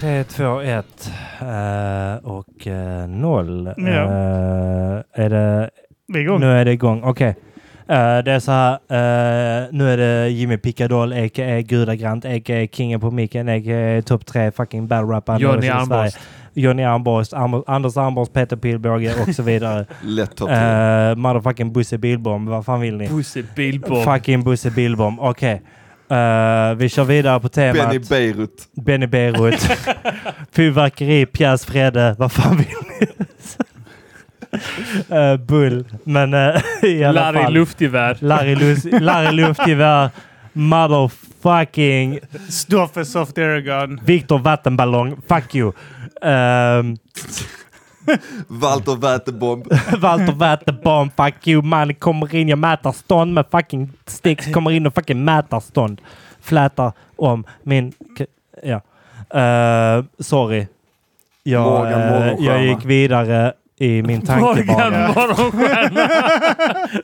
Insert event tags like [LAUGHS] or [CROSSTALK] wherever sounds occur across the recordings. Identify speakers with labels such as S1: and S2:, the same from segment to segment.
S1: 3, 2, 1 och eh, 0.
S2: Ja.
S1: Eh, är det,
S2: Vi är igång.
S1: nu är det igång. Okej. Eh, det är så här. eh, nu är det Jimmy Picadoll, a.k.a. Gudagrant, a.k.a. Kingen på micken, a.k.a. topp 3 fucking battle rapper.
S3: Johnny Armborst.
S1: Johnny Armborst, Arm- Anders Armborst, Peter Pilbåge och så vidare.
S4: Lätt topp tre.
S1: Eh, motherfucking Bosse Billbomb, vad fan vill ni?
S3: Bosse Billborn.
S1: Fucking Bosse Billbomb, okej. Eh, vi kör vidare på temat.
S4: Benny Beirut.
S1: Benny Beirut, fyrverkeri, pjäs, Fredde, vad fan vill ni? Eh, bull, men eh, [LAUGHS] i alla
S3: Larry
S1: fall.
S3: Luftgevär.
S1: Larry, Lus- Larry Luftgevär, motherfucking
S2: Stoffe Soft Air Gun.
S1: Viktor Vattenballong, fuck you. Um,
S4: Walter Väterbomb.
S1: [LAUGHS] Walter Väterbomb, fuck you man, kommer in, jag mätar stånd med fucking sticks, kommer in och fucking mätar stånd. Flätar om min... k- Ja. Eh, sorry. Jag,
S4: Morgan
S1: eh,
S4: Morgonstjärna.
S1: jag gick vidare i min
S3: Morgan
S1: tankebana.
S2: [LAUGHS]
S3: Morgonstjärna.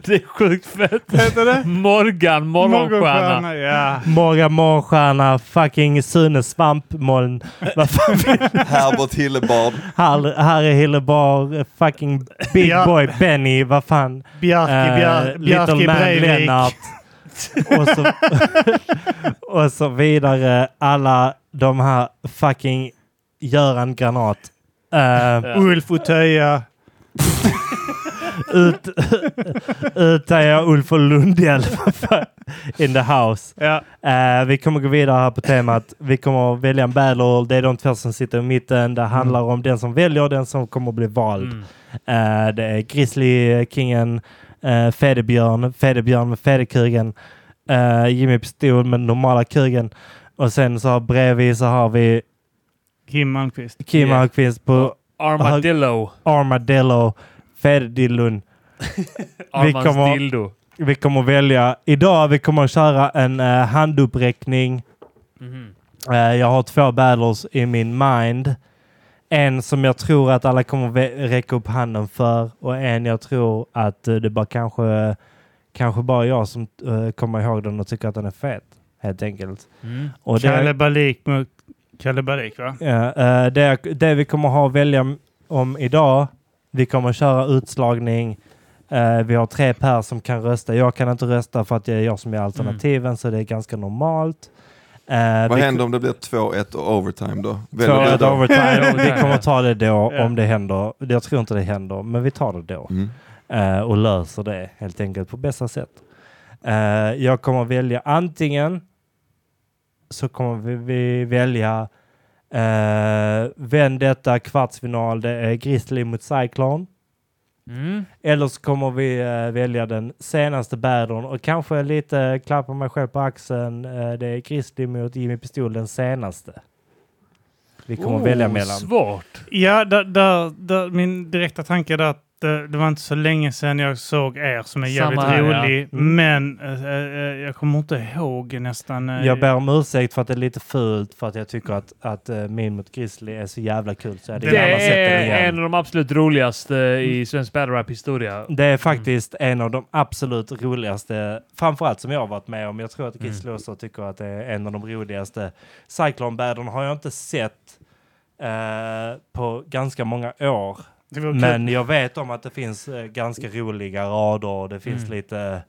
S3: Det är sjukt fett.
S2: Heter det?
S3: Morgan Morgonstjärna.
S2: Ja.
S1: Morgan Morgonstjärna, fucking Sune Svampmoln. Vad fan vill-
S4: Herbert Hillebard.
S1: Har- Harry Hillebar, fucking Big
S2: Ja.
S1: Boy Benny, vad fan.
S2: Bjarke, Bjar-
S1: Eh,
S2: Bjarke
S1: Little Man
S2: Breivik.
S1: Lennart. och, så,
S2: [LAUGHS]
S1: och så vidare. Alla de här fucking Göran Granat. Eh,
S2: Ulf Utöja.
S1: ut, [LAUGHS] utan jag Ulf och Lundell in the house.
S2: Ja.
S1: Eh, vi kommer gå vidare här på temat. Vi kommer att välja en battle. Det är de två som sitter i mitten. Det handlar om den som väljer och den som kommer att bli vald.
S3: Mm.
S1: Eh, det är Grizzly-kingen, uh, Fedebjörn, Fedebjörn med Fedekugen, uh, Jimmy Pistol med normala kugen och sen så har bredvid så har vi
S2: Kim Malmqvist.
S1: Kim
S3: Yeah.
S1: Hagqvist på
S3: Armadillo.
S1: Armadillo, Fededillon. kommer-
S3: Armans dildo.
S1: Vi kommer välja, idag vi kommer att köra en eh, handuppräckning.
S3: Mhm.
S1: Eh, jag har två battles i min mind. En som jag tror att alla kommer vä- räcka upp handen för och en jag tror att eh, det bara kanske, kanske bara jag som eh, kommer ihåg den och tycker att den är fet. Helt enkelt.
S3: Mm.
S1: Och det,
S2: Kalle Balik mot Kalle Balik va?
S1: ja, eh, det, det vi kommer ha att välja m- om idag, vi kommer köra utslagning. Eh, vi har tre per som kan rösta. Jag kan inte rösta för att det är jag som är alternativen så det är ganska normalt. Eh,
S4: Vad
S1: vi-
S4: händer om det blir 2-1 och overtime då?
S1: Så
S4: Väljer du
S1: att
S4: då?
S1: overtime,
S3: Ja.
S1: vi kommer ta det då
S2: Ja.
S1: om det händer. Jag tror inte det händer, men vi tar det då.
S4: Mm.
S1: Eh, och löser det helt enkelt på bästa sätt. Eh, jag kommer välja antingen så kommer vi, vi välja uh, Vendetta kvartsfinal, det är Grizzly mot Cyclone.
S3: Mm.
S1: Eller så kommer vi eh, välja den senaste battlen och kanske lite klappa mig själv på axeln. Eh, det är Grizzly mot Jimmy Pistol, den senaste. Vi kommer välja
S3: Oh,
S1: mellan.
S3: Svårt.
S2: Ja, där, där, där, min direkta tanke är att eh, det, det var inte så länge sedan jag såg er som är jävligt
S3: Samma här, ja.
S2: rolig.
S1: Mm.
S2: Men eh, eh, jag kommer inte ihåg nästan. eh,
S1: Jag ber om ursäkt för att det är lite fult för att jag tycker att, att eh, min mot Grizzly är så jävla kul så jag hade
S3: Det
S1: gärna sett den
S3: är
S1: igen.
S3: en av de absolut roligaste i svensk battle rap historia.
S1: Det är faktiskt en av de absolut roligaste, framförallt som jag har varit med om. Jag tror att
S3: Mm.
S1: Grizzly också tycker att det är en av de roligaste. cyclone battlen har jag inte sett eh, på ganska många år.
S2: det var kul.
S1: Men jag vet om att det finns eh, ganska roliga rader och det finns
S3: Mm.
S1: lite,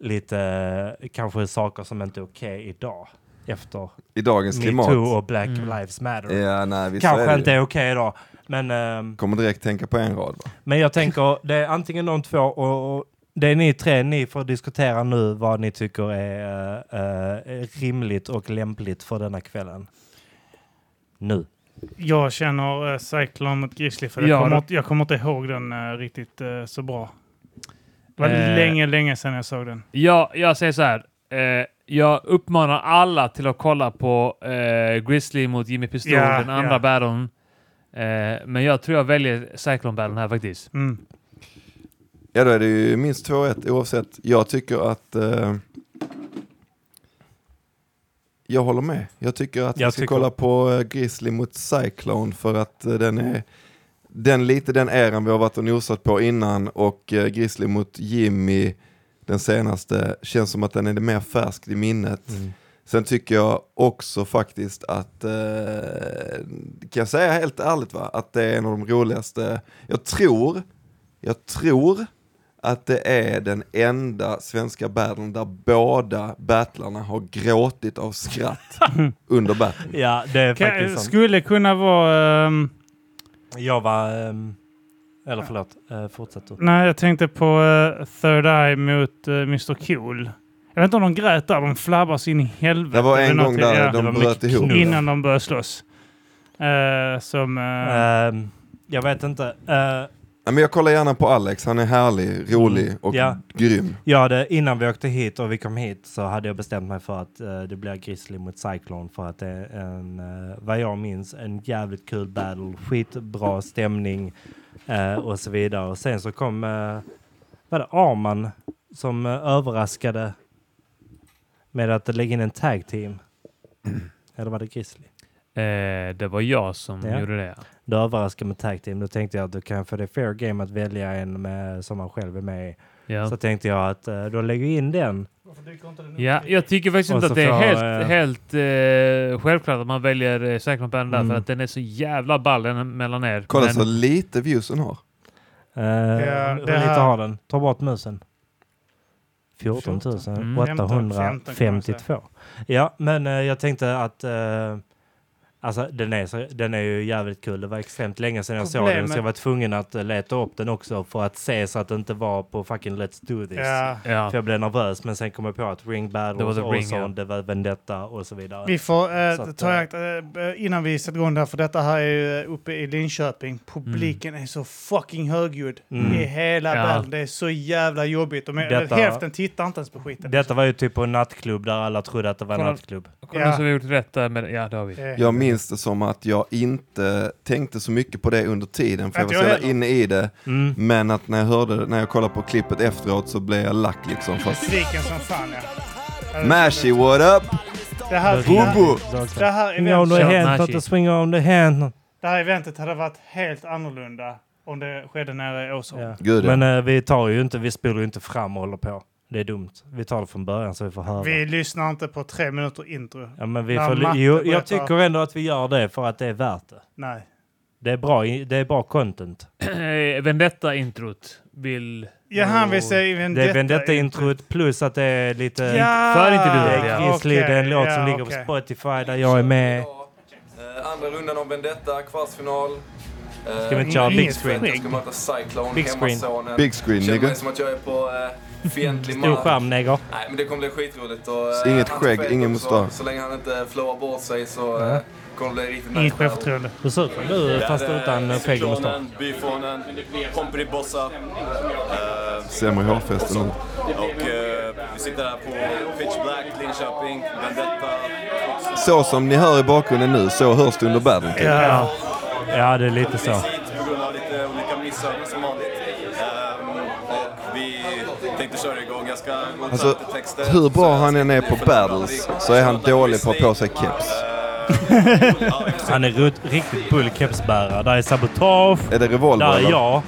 S1: lite kanske saker som inte är okej idag efter
S4: I dagens klimat.
S1: metoo och Black
S3: Mm.
S1: Lives Matter.
S4: Ja, nej, visst är
S1: Kanske
S4: det
S1: inte
S4: ju.
S1: är okej idag. Men, ehm,
S4: Kommer direkt tänka på en rad va?
S1: men jag tänker, det är antingen de två och, och det är ni tre, ni får diskutera nu vad ni tycker är eh, eh, rimligt och lämpligt för denna kvällen. Nu.
S2: Jag känner uh, Cyclone mot Grizzly för jag,
S3: Ja,
S2: kommer,
S3: det-
S2: inte- jag kommer inte ihåg den eh, riktigt eh, så bra. Det var
S3: Eh.
S2: länge, länge sedan jag såg den.
S3: Jag, jag säger så här. Eh, jag uppmanar alla till att kolla på eh, Grizzly mot Jimmy Pistol,
S2: Ja,
S3: den andra
S2: ja.
S3: battlen. Eh, men jag tror jag väljer Cyclone-battlen här faktiskt.
S2: Mm.
S4: Ja då är det ju minst 2-1 oavsett. Jag tycker att... Eh, jag håller med. Jag tycker att
S1: Jag
S4: vi ska
S1: tycker-
S4: kolla på eh, Grizzly mot Cyclone för att eh, den är... Den lite den äran vi har varit och nosat på innan och eh, Grizzly mot Jimmy den senaste känns som att den är mer färsk i minnet. Sen tycker jag också faktiskt att, eh, kan jag säga helt ärligt va, att det är en av de roligaste, jag tror, jag tror att det är den enda svenska battlen där båda battlarna har gråtit av skratt under battlen.
S1: Ja, det är
S2: Kan,
S1: faktiskt sant.
S2: skulle kunna vara... ehm,
S1: Jag var... ehm, eller förlåt, eh, fortsätt du.
S2: nej, jag tänkte på eh, Third Eye mot eh, Mr Cool. Jag vet inte om de grät där, de flabbade så in i helvete.
S4: Det var
S2: vid
S4: en
S2: något
S4: gång
S2: till-
S4: där
S2: ja,
S1: det var
S4: de bröt
S1: mycket
S4: ihop.
S1: knull.
S2: innan de började slåss. Eh, som... eh,
S1: Ehm, jag vet inte. Eh,
S4: Ja, men jag kollar gärna på Alex, han är härlig, rolig och
S1: Ja.
S4: grym.
S1: jag hade, innan vi åkte hit och vi kom hit så hade jag bestämt mig för att eh, det blir Grizzly mot Cyclone för att det är en, eh, vad jag minns, en jävligt kul battle, skitbra stämning eh, och så vidare. Och sen så kom, eh, var det Arman som eh, överraskade med att lägga in en tag team. Eller var det Grizzly?
S3: Eh, det var jag som
S1: Ja.
S3: gjorde det.
S1: Du överraskade med tag team. Då tänkte jag att du kan få det är fair game att välja en med, som man själv är med i.
S3: Ja.
S1: Så tänkte jag att eh, då lägger vi in den.
S3: Ja, jag tycker faktiskt
S1: Och
S3: inte
S1: så
S3: att det är
S1: får,
S3: helt,
S1: eh,
S3: helt eh, självklart att man väljer eh, Cyclone Band där,
S1: Mm.
S3: för att den är så jävla ball den mellan er.
S4: Kolla
S3: Men-
S4: så lite views hon har.
S1: Uh,
S2: Ja,
S1: hur
S2: det
S1: lite
S2: här-
S1: har den? Ta bort musen. 14 000,
S3: 14
S2: mm,
S3: 000.
S1: 852. Ja, men eh, jag tänkte att eh, alltså, den, är, så- den är ju jävligt kul. Det var extremt länge sedan jag såg den
S2: Problemet-
S1: så jag var tvungen att eh, leta upp den också för att se så att det inte var på fucking Let's Do This.
S2: ja.
S3: Ja.
S1: För jag blev nervös, men sen kom jag på att Ring
S3: Det var
S1: Battles,
S3: The Ring,
S1: Ozone,
S3: ja.
S1: det var Vendetta och så vidare.
S5: Vi får eh,
S1: Så att,
S5: ta
S1: eh,
S5: akt, eh, innan vi sätter igång där, för detta här är ju eh, uppe i Linköping. Publiken är så fucking högljudd
S1: Mm.
S5: i hela
S3: Ja.
S5: världen. Det är så jävla jobbigt. De är,
S1: Detta-
S5: Hälften tittar inte ens på skiten.
S1: Detta var ju typ på en nattklubb där alla trodde att det var en
S3: Kolla.
S1: nattklubb.
S3: Kolla
S5: Ja.
S3: så vi har gjort rätt där med Ja, det har vi.
S5: Det är-
S4: Jag minns det som att jag inte tänkte så mycket på det under tiden, för jag var
S5: Inte
S4: så
S5: jag
S4: jävla inne i det.
S1: Mm.
S4: Men att när jag hörde, när jag kollade på klippet efteråt så blev jag lack liksom. Fast...
S5: Besviken som fan ja.
S4: Mashy, what up?
S5: Det här, det här,
S4: Bobo!
S5: det här,
S1: Swing
S5: eventet,
S1: on the
S3: Shot
S1: hand,
S3: Nashi.
S1: not the swing on the hand.
S5: det här eventet hade varit helt annorlunda om det skedde nere i Åsholm.
S1: Ja.
S4: Gud, ja.
S1: Men eh, vi tar ju inte, vi spolar ju inte fram och håller på. Det är dumt. Vi tar det från början så vi får höra.
S5: Vi lyssnar inte på tre minuter intro.
S1: ja, men vi
S5: Ja,
S1: får,
S5: Matte
S1: jo, jag
S5: berättar.
S1: tycker ändå att vi gör det för att det är värt det.
S5: Nej.
S1: Det är bra, i- det är bra content.
S3: [CLEARS THROAT] Eh, Vendetta-introt vill...
S5: Ja, han vill säga vendetta.
S1: det är Vendetta-introt plus att det är lite...
S5: Ja!
S3: För inte
S1: Det
S3: du,
S1: är
S3: ja.
S1: Grizzly, det är en låt som ligger på Spotify där jag är med.
S4: Eh, Andra rundan om Vendetta, kvartsfinal.
S1: Ska vi inte köra big
S2: Inget
S1: screen?
S2: skit.
S6: Jag ska möta Cyclone,
S1: Big screen.
S6: hemmasonen.
S4: Big screen,
S6: Känner
S4: nigga.
S6: mig som att jag är på eh, fientlig
S1: Stor
S6: mark.
S1: skärm, neger.
S6: Nej, men det kommer bli skitroligt. Och, eh,
S4: Inget
S6: han
S4: skägg,
S6: tar fel
S4: ingen
S6: också.
S4: mustasch.
S6: Så länge han inte flowar bort sig så eh, kommer det bli riktigt
S2: Inget
S6: nice battle.
S2: självförtroende.
S1: Du ser ut som du fast
S6: Där, eh,
S1: utan eh, skägg och mustasch.
S6: Cyklonen, Byfånen, Pomperi Bossa. Eh,
S4: Sämre hårfäste nu.
S6: och eh, vi sitter här på Pitch Black, Linköping, Vendetta.
S4: Så som ni hör i bakgrunden nu, så hörs det under battlen. typ.
S1: Ja. ja, det är lite så.
S6: Visit på grund av lite olika missöden som vanligt. Ehm, och vi tänkte köra igång. Jag ska gå
S4: Alltså,
S6: till texter.
S4: hur
S6: Så
S4: bra
S6: jag
S4: han
S6: ska
S4: än är
S6: bli
S4: på
S6: förlorad.
S4: battles så är han dålig på att ha på sig keps.
S1: Han är rut- riktigt bull kepsbärare. Där är Sabotage,
S4: Är det revolver
S1: där är
S4: eller?
S1: jag,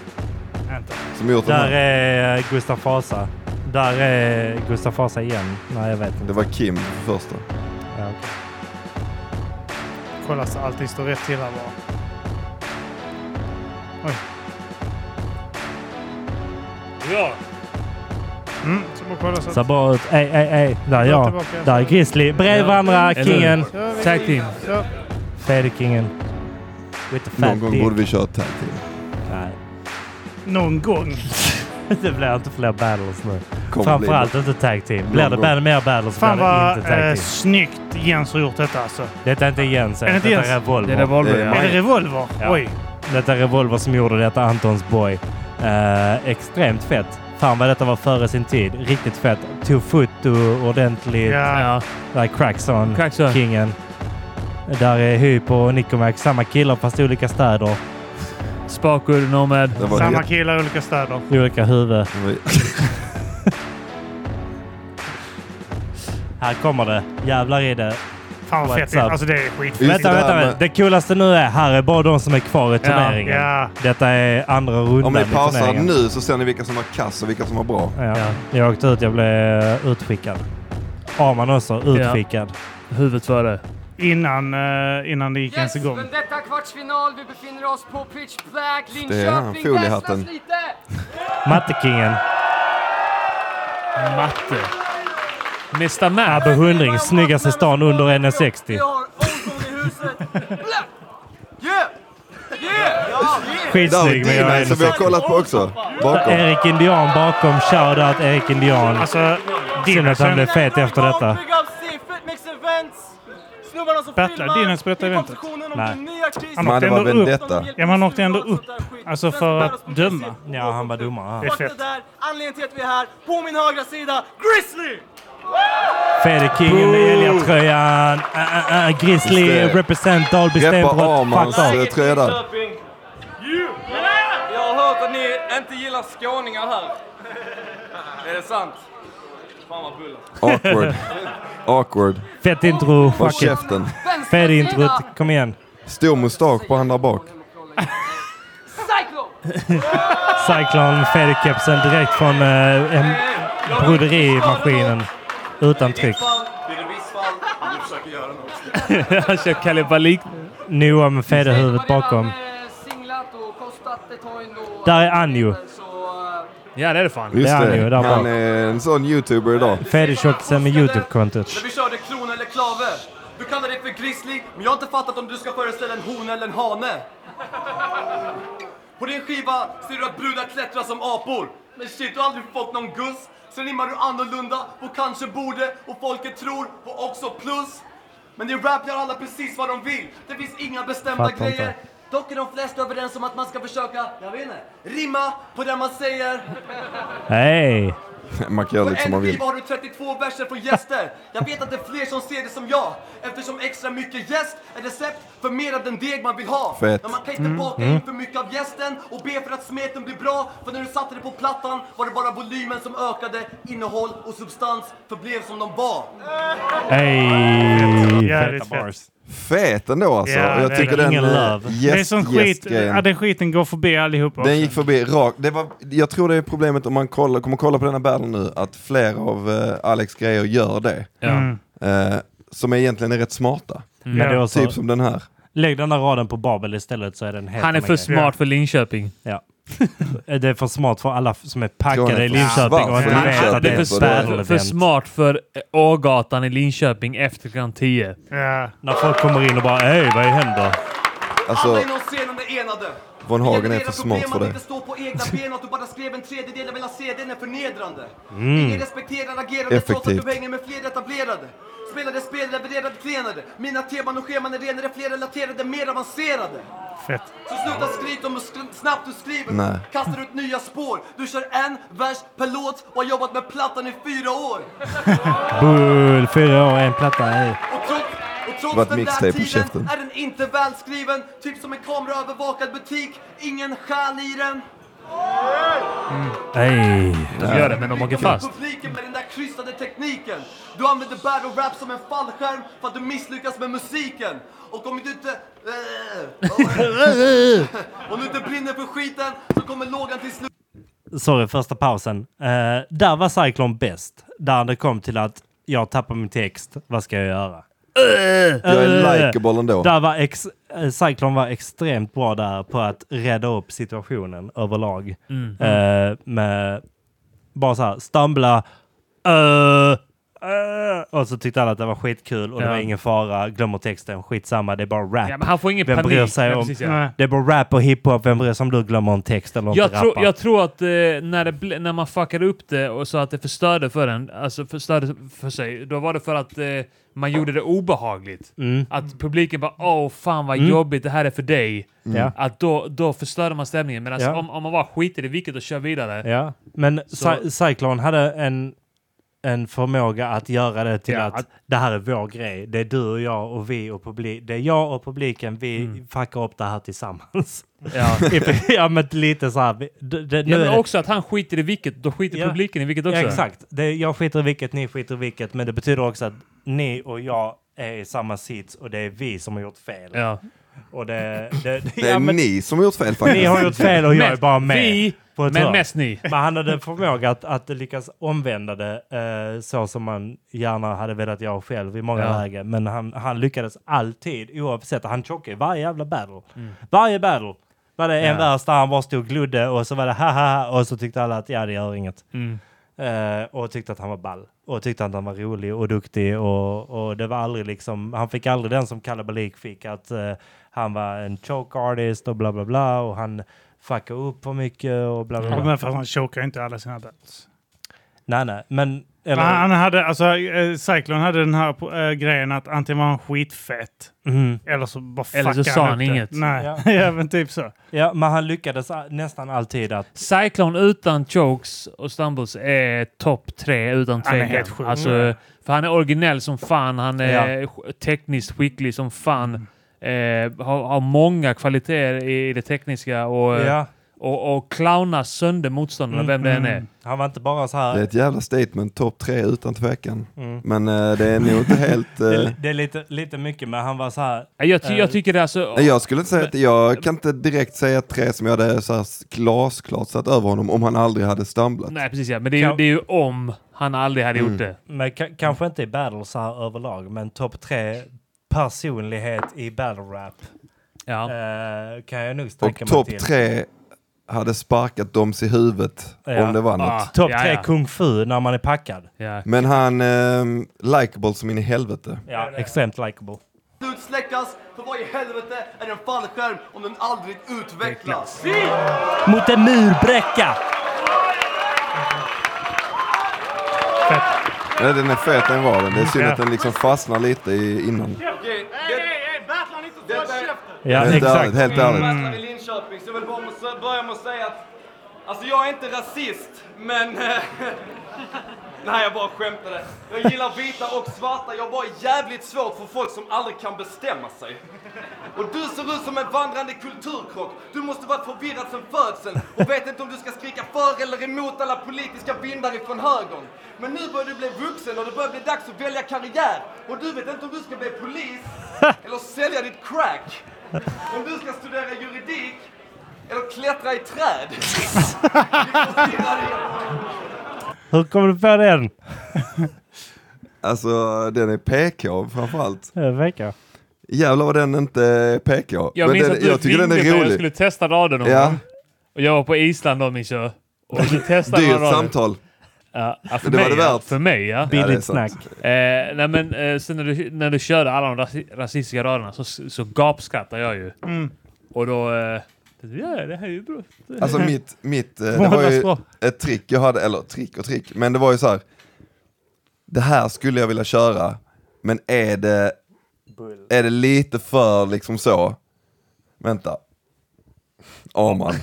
S4: som gjort den
S1: där
S4: här?
S1: är eh, Gustav Fasa. Där är Gustav Fasa igen. Nej, jag vet inte.
S4: Det var Kim för första.
S1: Ja, okej.
S2: Kolla så allting står rätt till här bara.
S3: Ja.
S2: Mm, så bara kolla så att...
S1: Ser bra ut. Ey, ey, ey. Där är jag.
S2: tillbaka.
S1: Där är Grizzly. Bredvid varandra.
S3: Eller-
S1: Kingen.
S2: Så vi-
S3: Tag team.
S2: så.
S1: Fäderkingen. With the
S4: Någon
S1: fat
S4: gång borde
S1: dick.
S4: vi köra tag team.
S1: Nej, [LAUGHS]
S2: Någon gång.
S1: det blir inte fler battles nu.
S4: Kommer bli
S1: Framförallt inte tag team. Blir
S4: Någon
S1: det
S4: gång.
S1: bad- mer battles blir
S2: Fan
S1: det
S2: vad
S1: inte tag team.
S2: eh, snyggt Jens har gjort detta alltså.
S1: Detta är inte Jens.
S2: Är det
S1: ens.
S2: inte
S1: Detta
S2: Jens?
S1: är
S3: Det är
S1: Revolver.
S3: revolver,
S4: Det är
S3: ja.
S2: Är det revolver?
S1: Ja.
S2: Oj.
S1: Detta är Revolver som gjorde detta, Antons boy. Eh, extremt fett. Fan vad detta var före sin tid. Riktigt fett. Tog foto ordentligt.
S2: Ja.
S3: Ja.
S1: Där är Crackson,
S3: Crackson.
S1: kingen. Där är Hypo och Nikomax. Samma killar fast i olika städer.
S3: Spakur, Nomad.
S4: Det var
S2: Samma
S4: jätte-
S2: killar i olika städer.
S1: I olika huvud.
S4: det var-
S1: Här kommer det. Jävlar i det.
S2: Fan vad fett.
S1: What's up?
S2: Alltså det är
S4: Just
S2: skit.
S1: Vänta,
S4: det
S1: vänta.
S4: här
S1: vänta.
S4: med-
S1: Det coolaste nu är här är bara de som är kvar i turneringen.
S2: Ja.
S1: Detta är andra rundan
S4: Om ni
S1: i
S4: pausar
S1: turneringen.
S4: nu så ser ni vilka som var kass och vilka som var bra.
S1: Ja. Jag åkte ut. Jag blev eh, utskickad. Arman också utskickad.
S3: Huvudet före.
S2: Innan, eh, innan det gick ens
S7: Yes,
S2: igång.
S7: men detta kvartsfinal. Vi befinner oss på Pitch Black,
S4: Det är han,
S7: Linköping.
S4: foliehatten.
S7: Väsnas lite!
S1: Mattekingen.
S3: Matte. Mr. Mab.
S1: Abbe Hundring, snyggast i stan under 1,60.
S7: Vi har Olsson
S4: [LAUGHS]
S7: i huset. Black!
S1: Skitsnygg, men jag är
S4: David som vi har
S1: 1,60.
S4: kollat på också. Bakom.
S1: Erik Indian bakom. Shoutout Erik Indian.
S2: Alltså,
S1: Synd att han blev
S2: Dinesen,
S1: fet efter detta.
S7: Big up Sifet, Mix Events. Snubbarna som
S2: Battlar.
S7: filmar.
S2: Dina spelar
S7: Hip-hop
S2: eventet.
S7: sektionen om
S1: Nej.
S7: en ny artist.
S2: Han
S4: Man,
S2: åkte
S4: det var
S2: ändå upp.
S4: Vendetta.
S2: Ja, man åkte ändå upp. Alltså för att döma.
S1: Ja, han var domare.
S2: Det
S1: han.
S2: är fett.
S7: Där, anledningen till att vi är här, på min högra sida, Grizzly!
S1: Fede Kingen med Elliot-tröjan. Äh, äh, äh,
S4: Just
S1: Grizzly
S4: det.
S1: represent Dalby
S4: Greppa
S1: Stenbrott.
S4: Armans
S1: Fuck
S4: eh,
S1: off.
S4: tröja där.
S8: Jag har hört att ni inte gillar skåningar här. Är det sant? Fan vad bullar.
S4: Awkward. Awkward.
S1: Fett intro.
S4: Håll
S1: Fuck it.
S4: käften.
S7: Vänstra
S1: Fede
S7: sida,
S1: introt. Kom igen.
S4: Stor mustasch på han där bak.
S7: Cyclo!
S1: Cyclone Fede-kepsen direkt från eh, en broderimaskinen. Utan tryck. [LAUGHS]
S6: Det är visst fall om du försöker göra något.
S3: Han kör kalibalik.
S1: Noah med Fede-huvudet bakom.
S7: Singlat och kostat ett tag och...
S1: Där är Anjo.
S7: Så, eh,
S3: Ja, det är det fan.
S4: Just
S1: Det är han ju,
S4: det.
S1: där bak.
S4: Han är en sån youtuber idag. [LAUGHS]
S1: Fede-tjockisen med YouTube-kontot.
S8: När vi körde klona eller klave. Du kallar det för grizzly, men jag har inte fattat om du ska föreställa en hona eller en hane. På din skiva ser du att brudar klättrar som apor. Men shit, du har aldrig fått någon guss. Sen rimmar du annorlunda på kanske borde och folket tror på också plus. Men i rap gör alla precis vad de vill. Det finns inga bestämda
S1: Fattar inte.
S8: grejer. Dock är de flesta överens om att man ska försöka, jag vet inte, rimma på det man säger.
S1: Hej!
S4: Man kan göra
S8: På
S4: lite som man
S8: en
S4: vill.
S8: skiva har du 32 verser från gäster. Jag vet att det är fler som ser det som jag. Eftersom extra mycket gäst är recept för mer av den deg man vill ha.
S4: Fett.
S8: Men man kan inte baka in för mycket av gästen och be för att smeten blir bra. För när du satte det på plattan var det bara volymen som ökade. Innehåll och substans förblev som de var.
S1: Hej!
S2: Jävligt
S1: Feta
S2: fett.
S4: Fet ändå alltså.
S2: Ja,
S4: Och jag
S2: det
S4: tycker
S1: är
S4: den
S1: ingen
S4: eh,
S1: love.
S2: Det är
S4: gäst-
S2: sån skit.
S4: gästgrejen.
S2: Ja, den skiten går förbi allihopa
S4: Den
S2: också.
S4: gick förbi rakt. Det var, jag tror det är problemet om man kollar, kommer kolla på denna battle nu, att flera av eh, Alex grejer gör det.
S2: Mm.
S3: Ja.
S4: Eh, som egentligen är rätt smarta.
S1: Men det är också,
S4: Typ som den här.
S1: lägg den där raden på Babel istället så är den helt
S3: Han är
S1: annan grej.
S3: för smart för Linköping.
S1: Ja. [LAUGHS] det är för smart för alla f- som är
S4: Tror han
S1: packade
S4: är
S1: i
S4: för
S1: Linköping
S4: svart
S1: och
S4: för
S1: inte vet
S4: Linköping.
S1: att
S3: Han
S1: det
S3: är
S1: är
S3: för,
S1: ett
S3: smart,
S1: battle
S3: för
S1: event.
S3: smart för eh, Ågatan i Linköping efter klockan 10.
S2: Ja.
S1: När folk kommer in och bara hej, vad händer?
S4: Alltså,
S8: Alla inom scenen är enade.
S4: Von Hagen är
S8: Vilket
S4: för
S8: era
S4: smart
S8: problem
S4: för
S8: att
S4: det.
S8: inte stå på egna ben och att du bara skrev en tredjedel av hela CDn är förnedrande. Ingen respekterar agerande trots
S4: Mm. Effektivt.
S8: att du hänger med fler etablerade. Spelade spel, levererade klenade. Mina teman och scheman är renare, fler relaterade, mer avancerade.
S2: Fett.
S8: Så sluta skryta om hur sk- snabbt du skriver.
S4: Nej.
S8: Kastar ut nya spår. Du kör en vers per låt och har jobbat med plattan i fyra år.
S1: Bull, fyra år, en platta. Hej.
S8: Och trots, och
S4: Det var ett
S8: trots den
S4: mixtape
S8: där
S4: på
S8: tiden
S4: käften.
S8: är den inte välskriven. Typ som en kameraövervakad butik. Ingen själ i den.
S1: Hej.
S3: De gör det, men de åker
S8: Fick
S3: fast.
S8: publiken med den där krystade tekniken. Du använder battle rap som en fallskärm för att du misslyckas med musiken. Och om du inte... eh, om du inte brinner för skiten så kommer lågan till slut...
S1: Sorry, första pausen. Eh, där var Cyclone bäst. Där det kom till att jag tappar min text. Vad ska jag göra?
S4: jag är
S1: Eh,
S4: likeable ändå.
S1: Där var ex, eh, Cyclone var extremt bra där på att rädda upp situationen överlag.
S3: Mm.
S1: Eh, med bara så här, stumbla, eh, eh, och så tyckte alla att det var skitkul och det
S3: Ja.
S1: var ingen fara, glömmer texten, skitsamma, det är bara rap.
S3: Ja, men han får ingen
S1: Vem
S3: panik.
S1: bryr sig
S3: Ja,
S1: om-
S3: precis, ja.
S2: Nej.
S1: Det är bara rap och hiphop, vem bryr sig om du glömmer en text eller inte
S3: Jag, tror-
S1: rappar?
S3: jag tror att eh, när, det ble, när man fuckade upp det och så att det förstörde för en, alltså förstörde för sig, då var det för att eh, man gjorde det obehagligt. Att publiken bara åh fan vad jobbigt, det här är för dig.
S1: Ja.
S3: [LAUGHS] Att då, då förstörde man stämningen. Men alltså,
S1: Ja.
S3: om, om man bara skiter i vilket och kör vidare.
S1: Ja, men
S3: Så-
S1: Cy- Cyclone hade en, en förmåga att göra det till
S3: Ja,
S1: att
S3: att-
S1: det här är vår grej. Det är du och jag och vi och publiken. Det är jag och publiken. Vi
S3: Mm.
S1: fuckar upp det här tillsammans. [LAUGHS]
S3: Ja.
S1: ja, men lite så här. vi- Det, det, nu
S3: Ja,
S1: är
S3: men
S1: det,
S3: också att han skiter i vilket, då skiter
S1: Ja.
S3: publiken i vilket
S1: ja,
S3: också.
S1: exakt. Det, jag skiter i vilket, ni skiter i vilket. Men det betyder också att ni och jag är i samma sits och det är vi som har gjort fel.
S3: Ja.
S1: Och det, det, det,
S4: Det är
S1: ja, men,
S4: ni som har gjort fel faktiskt.
S1: ni har gjort fel och jag är
S3: Mest
S1: bara med.
S3: vi,
S1: på ett
S3: Men
S1: hörn.
S3: mest ni.
S1: Men han hade förmåga att, att lyckas omvända det eh, så som man gärna hade velat göra själv i många
S3: Ja.
S1: lägen. Men han, han lyckades alltid oavsett. Han chockade i varje jävla battle. Varje battle var det en
S3: Mm. Ja.
S1: värld där han bara stod och glodde och så var det haha och så tyckte alla att ja, det gör inget.
S3: Mm.
S1: Eh, och tyckte att han var ball. Och tyckte att han var rolig och duktig. Och, och det var aldrig liksom, han fick aldrig den som Kalabalik fick. Att eh, han var en choke artist och bla bla bla. Och han fuckade upp för mycket och bla bla bla.
S2: Ja, men för han chokar ju inte alla sina bats.
S1: Nej, nej, men... Eller,
S2: Han hade, alltså, eh, Cyclone hade den här eh, grejen att antingen var han skitfett
S1: Mhm.
S2: eller så bara
S3: Eller så
S2: fuckade
S3: sa
S2: upp
S3: han
S2: det.
S3: inget.
S2: Nej,
S1: Ja.
S2: [LAUGHS] ja, men typ så.
S1: Ja, men han lyckades a- nästan alltid att...
S3: Cyclone utan chokes och stumbles är topp tre utan
S2: Han är
S3: tvekan.
S2: helt sjuk.
S3: Alltså, för han är originell som fan. Han är sk- tekniskt skicklig som fan.
S1: Mm.
S3: Eh, har, har många kvaliteter i det tekniska och,
S1: Ja, Mm,
S3: och, och clownar sönder motståndarna, vem det än är.
S1: han var inte bara så
S4: Det är
S1: här...
S4: ett jävla statement, topp tre utan tvekan.
S3: Mm.
S4: Men eh, det är nog
S3: [LAUGHS]
S4: inte helt...
S1: Det
S4: eh,
S1: är, det är lite, lite mycket, men han var så här...
S3: Jag, ty-
S1: Eh,
S3: jag tycker det är alltså...
S4: Nej, jag skulle inte säga att, jag kan inte direkt säga att tre som jag hade så här glasklart satt över honom om han aldrig hade stumlat.
S3: Nej, precis ja. Men det är, ju, det är ju om han aldrig hade
S1: Mm.
S3: gjort det.
S1: Men ka- kanske inte i battle så här överlag, men topp tre personlighet i battle rap
S3: Ja.
S1: eh, kan jag nog sträcka
S4: Och
S1: mig
S4: topp
S1: till.
S4: tre hade sparkat doms i huvudet
S1: Ja.
S4: om det var något.
S3: Ah,
S1: Topp
S3: ja,
S1: tre
S3: ja.
S1: kung fu när man är packad.
S3: Ja.
S4: Men han, eh, likeable som in i helvete.
S1: Ja, extremt likable.
S8: slut släckas, för vad i helvete är en fallskärm om den aldrig utvecklas?
S1: Mot en murbräcka!
S4: Nej, den är fet än var den. Det är synd
S2: Ja.
S4: att den liksom fastnar lite i, innan.
S8: Okej, det
S1: Ja,
S4: Helt
S1: exakt.
S4: ärligt, helt
S3: Mm.
S4: ärligt.
S8: är i Linköping, så jag vill bara måste- börja med att säga att Alltså jag är inte rasist, men... [LAUGHS] eh, Nej, jag bara skämtade. Jag gillar vita och svarta. Jag har bara jävligt svårt för folk som aldrig kan bestämma sig. Och du ser ut som en vandrande kulturkrock. Du måste varit förvirrad sedan födseln och vet inte om du ska skrika för eller emot alla politiska vindar ifrån högern. Men nu börjar du bli vuxen och det börjar bli dags att välja karriär. Och du vet inte om du ska bli
S4: [LAUGHS]
S8: polis eller sälja ditt crack. Om du ska studera juridik eller klättra i
S5: [LAUGHS]
S8: träd.
S1: Hur kommer du på den?
S4: Alltså den är PK framförallt.
S1: Jag vet inte.
S4: Jävlar vad den inte är PK.
S3: Jag
S4: Men
S3: minns
S4: den,
S3: att du
S4: jag tycker den
S3: ringde mig
S4: är
S3: och jag
S4: rolig.
S3: skulle testa raden om
S4: Ja,
S3: honom. Och jag var på Island då, Mischa. Och du testade den
S4: dyrt
S3: raden.
S4: samtal.
S3: Ja, ja, för
S4: Det var
S3: mig,
S4: det
S3: ja.
S4: värt.
S3: För mig, ja.
S4: Ja, det är
S1: Billigt
S4: sant.
S1: snack.
S3: Eh, nej men eh, sen när du, när du körde alla de rasi rasistiska raderna så, så gapskrattade jag ju.
S1: Mm.
S3: Och då... Eh, ja, det här är ju bra.
S4: Alltså mitt, mitt eh, det var ju
S2: Målas bra.
S4: ett trick jag hade, eller trick och trick, men det var ju så här. Det här skulle jag vilja köra, men är det, är det lite för liksom så, vänta. Ja man.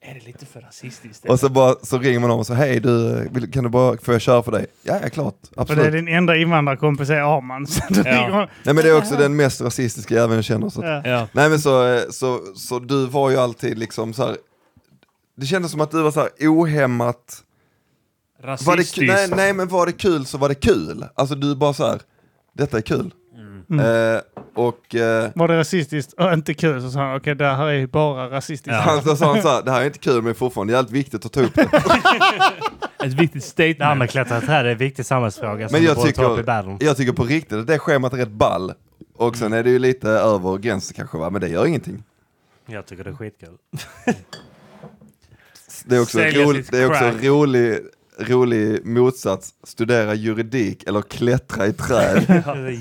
S3: Är det lite för rasistiskt?
S4: Och så, bara, så ringer man om och så hej du, vill, kan du bara, får jag köra för dig? Ja, ja klart,
S2: För det är
S4: absolut.
S2: din enda invandrarkompis är Arman. Så då ligger hon-
S4: Nej men det är också den mest rasistiska jäveln jag känner. Så att,
S2: Ja.
S3: Ja.
S4: Nej men så, eh, så, så du var ju alltid liksom så här. Det kändes som att du var så här ohämmat var det,
S3: Rasistiskt.
S4: ku- nej, nej, men var det kul så var det kul. Alltså du bara så här, detta är kul. Eh, och eh,
S2: Var det rasistiskt och inte kul så sa han okej det här är ju bara rasistiskt.
S4: han alltså, så sa han så här, det här är inte kul men det är fortfarande jävligt viktigt att ta upp det.
S3: Ett viktigt
S1: Det här
S3: statement.
S1: med att klättra i träd är en viktig samhällsfråga som
S4: Men
S1: du
S4: jag
S1: borde ta upp i
S4: tycker,
S1: battle.
S4: jag tycker på riktigt att det schemat är rätt ball. Och sen är det ju lite över gränsen kanske va, men det gör ingenting.
S1: Jag tycker det är skitkul.
S4: Det är också,
S3: Sälja
S4: roligt,
S3: sitt
S4: det är också
S3: crack.
S4: rolig, rolig motsats, studera juridik eller klättra i träd.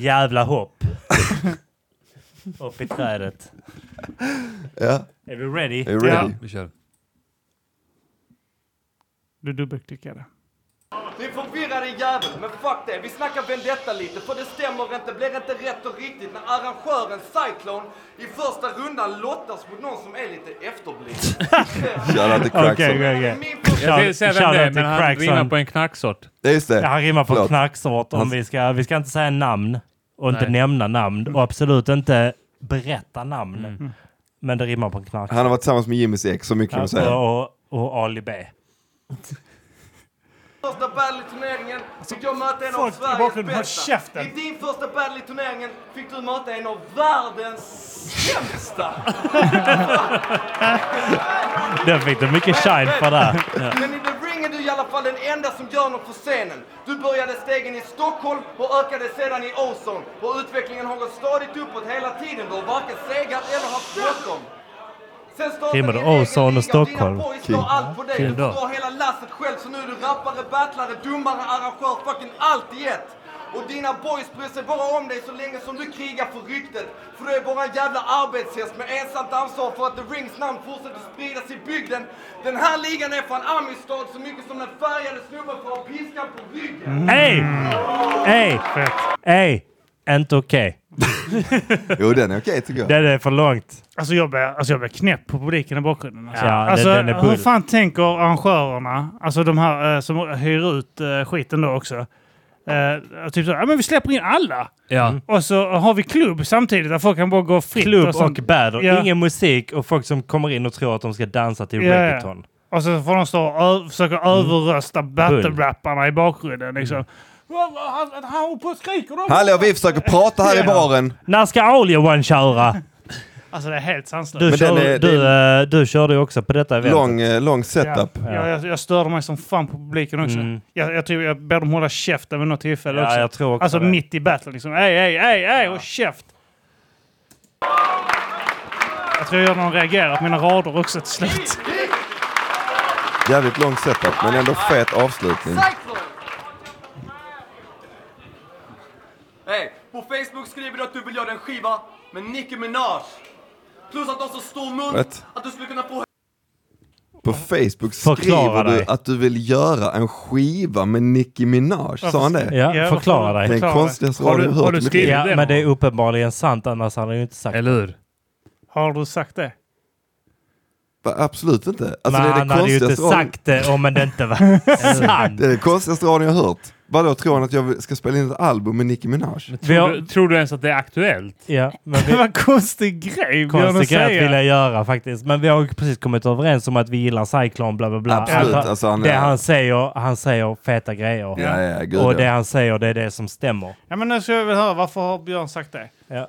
S1: Jävla [LAUGHS] hopp. upp i trädet.
S4: ja,
S1: Är du ready?
S4: är du ready?
S3: Vi kör.
S2: Du dubbelklickade.
S8: Ni förvirrade jävel, men fuck det. Vi snackar vendetta lite, för det stämmer inte, blir inte rätt och riktigt när arrangören Cyclone i första rundan lottas mot någon som är lite efterbliven.
S4: Jävlar, det cracks
S1: Okej,
S4: okay,
S1: okej, okej.
S8: Min första...
S3: Jag vill säga vem det är,
S1: Shoutout till
S3: men han
S1: Craigson.
S3: rimmar på en knacksort.
S4: Det är just det.
S1: Ja, Han rimmar på
S4: Förlåt.
S1: knacksort. Om
S4: Han-
S1: vi, ska, vi ska inte säga namn och inte
S3: Nej.
S1: nämna namn och absolut inte berätta namn. Men det rimmar på knack.
S4: Han har varit tillsammans med Jimmys ex, så mycket kan man säga.
S1: och, och Ali B.
S8: första battle i turneringen fick jag möta en av
S5: folk i
S8: Sveriges
S5: bakgrunden, håll
S8: bästa.
S5: käften.
S8: I din första battle i turneringen fick du möta en av världens sämsta.
S1: Den fick du mycket shine för där.
S8: Men i The Ring är du i alla fall den enda som gör något för scenen. Du började stegen i Stockholm och ökade sedan i Ozone. Och utvecklingen har gått stadigt uppåt hela tiden. Du har varken segat eller haft bråttom. Sen startade
S1: Rimmade
S8: din egen
S1: Ozone och
S8: liga
S1: Stockholm.
S8: Dina boys
S4: Kul.
S8: la allt på dig.
S3: Kul
S8: Du
S3: då.
S8: drar hela lasset själv så nu är du rappare, battlare, domare, arrangör, fucking allt i ett. Och dina boys bryr sig bara om dig så länge som du krigar för ryktet. För du är bara en jävla arbetshäst med ensamt ansvar för att The Rings namn fortsätter spridas i bygden. Den här ligan är fan Amistad så mycket som den färgade snubben får ha piskan på ryggen.
S3: Mhm.
S1: Ey! Ey! Ey! Inte okej.
S4: Jo, den är okej tycker jag.
S1: Det är för långt.
S2: Alltså jag blir, alltså jag blir knäpp på publiken i bakgrunden. Alltså.
S1: Ja, den-
S2: alltså,
S1: den är bull.
S2: hur fan tänker arrangörerna, alltså de här eh, som hyr ut eh, skiten då också. Eh, typ så, ja men vi släpper in alla!
S3: Ja.
S2: Och så har vi klubb samtidigt där folk kan bara gå fritt.
S1: Mm. Klubb
S2: och,
S1: och
S2: sånt.
S1: battle.
S2: Ja.
S1: Ingen musik och folk som kommer in och tror att de ska dansa till
S2: Ja, ja.
S1: reggaeton.
S2: och så får de stå och ö- försöka överrösta battle-rapparna i bakgrunden. Liksom. Han, han, han håller på och skriker då!
S4: Hallå, vi försöker prata här i baren.
S1: När ska Aulia One köra?
S2: Alltså det är helt sanslöst.
S1: Du,
S4: Men den
S1: kör,
S4: är-
S1: du,
S4: den-
S1: eh, du körde ju också på detta eventet.
S4: Lång, eh, lång setup.
S2: Ja. Jag, jag, jag störde mig som fan på publiken också. Jag, jag, tror jag ber dem hålla käften vid något tillfälle
S1: Mm. Ja,
S2: också.
S1: jag tror också
S2: alltså
S1: det.
S2: mitt i battlen liksom. Ej, ej, ej, ej, och käft! Jag tror jag gör någon reagerar på mina rader också till slut.
S4: Jävligt lång setup, men ändå fet avslutning.
S8: Cyclone! Hey, på Facebook skriver du att du vill göra en skiva med Nicki Minaj. Plus att du har så stor mun
S4: Rätt.
S8: att du skulle kunna få
S4: På Facebook
S1: Förklara
S4: skriver du
S1: dig.
S4: att du vill göra en skiva med Nicki Minaj. Sa han det?
S1: Ja,
S2: Ja,
S1: förklara
S2: varför-
S1: dig.
S4: Det är
S2: Förklara.
S4: den konstigaste
S3: Har
S4: raden
S3: du-
S4: jag
S3: har
S4: hört
S3: du
S4: i mitt
S3: skrivit
S4: liv.
S1: Ja,
S3: det
S1: men
S3: då?
S1: det är uppenbarligen sant, annars hade han ju inte sagt
S3: Eller hur?
S2: Har du sagt det?
S4: Va, Absolut inte. Alltså, det
S1: Men
S4: är
S1: han
S4: det
S1: hade ju inte
S4: konstigaste raden-
S1: sagt det om det inte var
S4: [LAUGHS]
S1: sant.
S4: det är det konstigaste radion jag har hört. Vadå, tror han att jag ska spela in ett album med Nicki Minaj?
S1: Vi
S3: Tror
S1: har-
S3: du, tror du ens att det är aktuellt?
S1: [LAUGHS] Ja, men
S2: Det
S1: vi,
S2: var en konstig grej,
S1: konstig grej att
S2: säga.
S1: vilja göra faktiskt. Men vi har ju precis kommit överens om att vi gillar Cyclone, bla bla bla.
S4: Absolut,
S1: Att han-
S4: alltså, han är-
S1: det han säger, han säger feta grejer.
S4: Ja, ja, gud
S1: och
S4: ja.
S1: det han säger, det är det som stämmer.
S2: Ja, men nu ska jag väl höra, varför har Björn sagt det?
S1: Ja.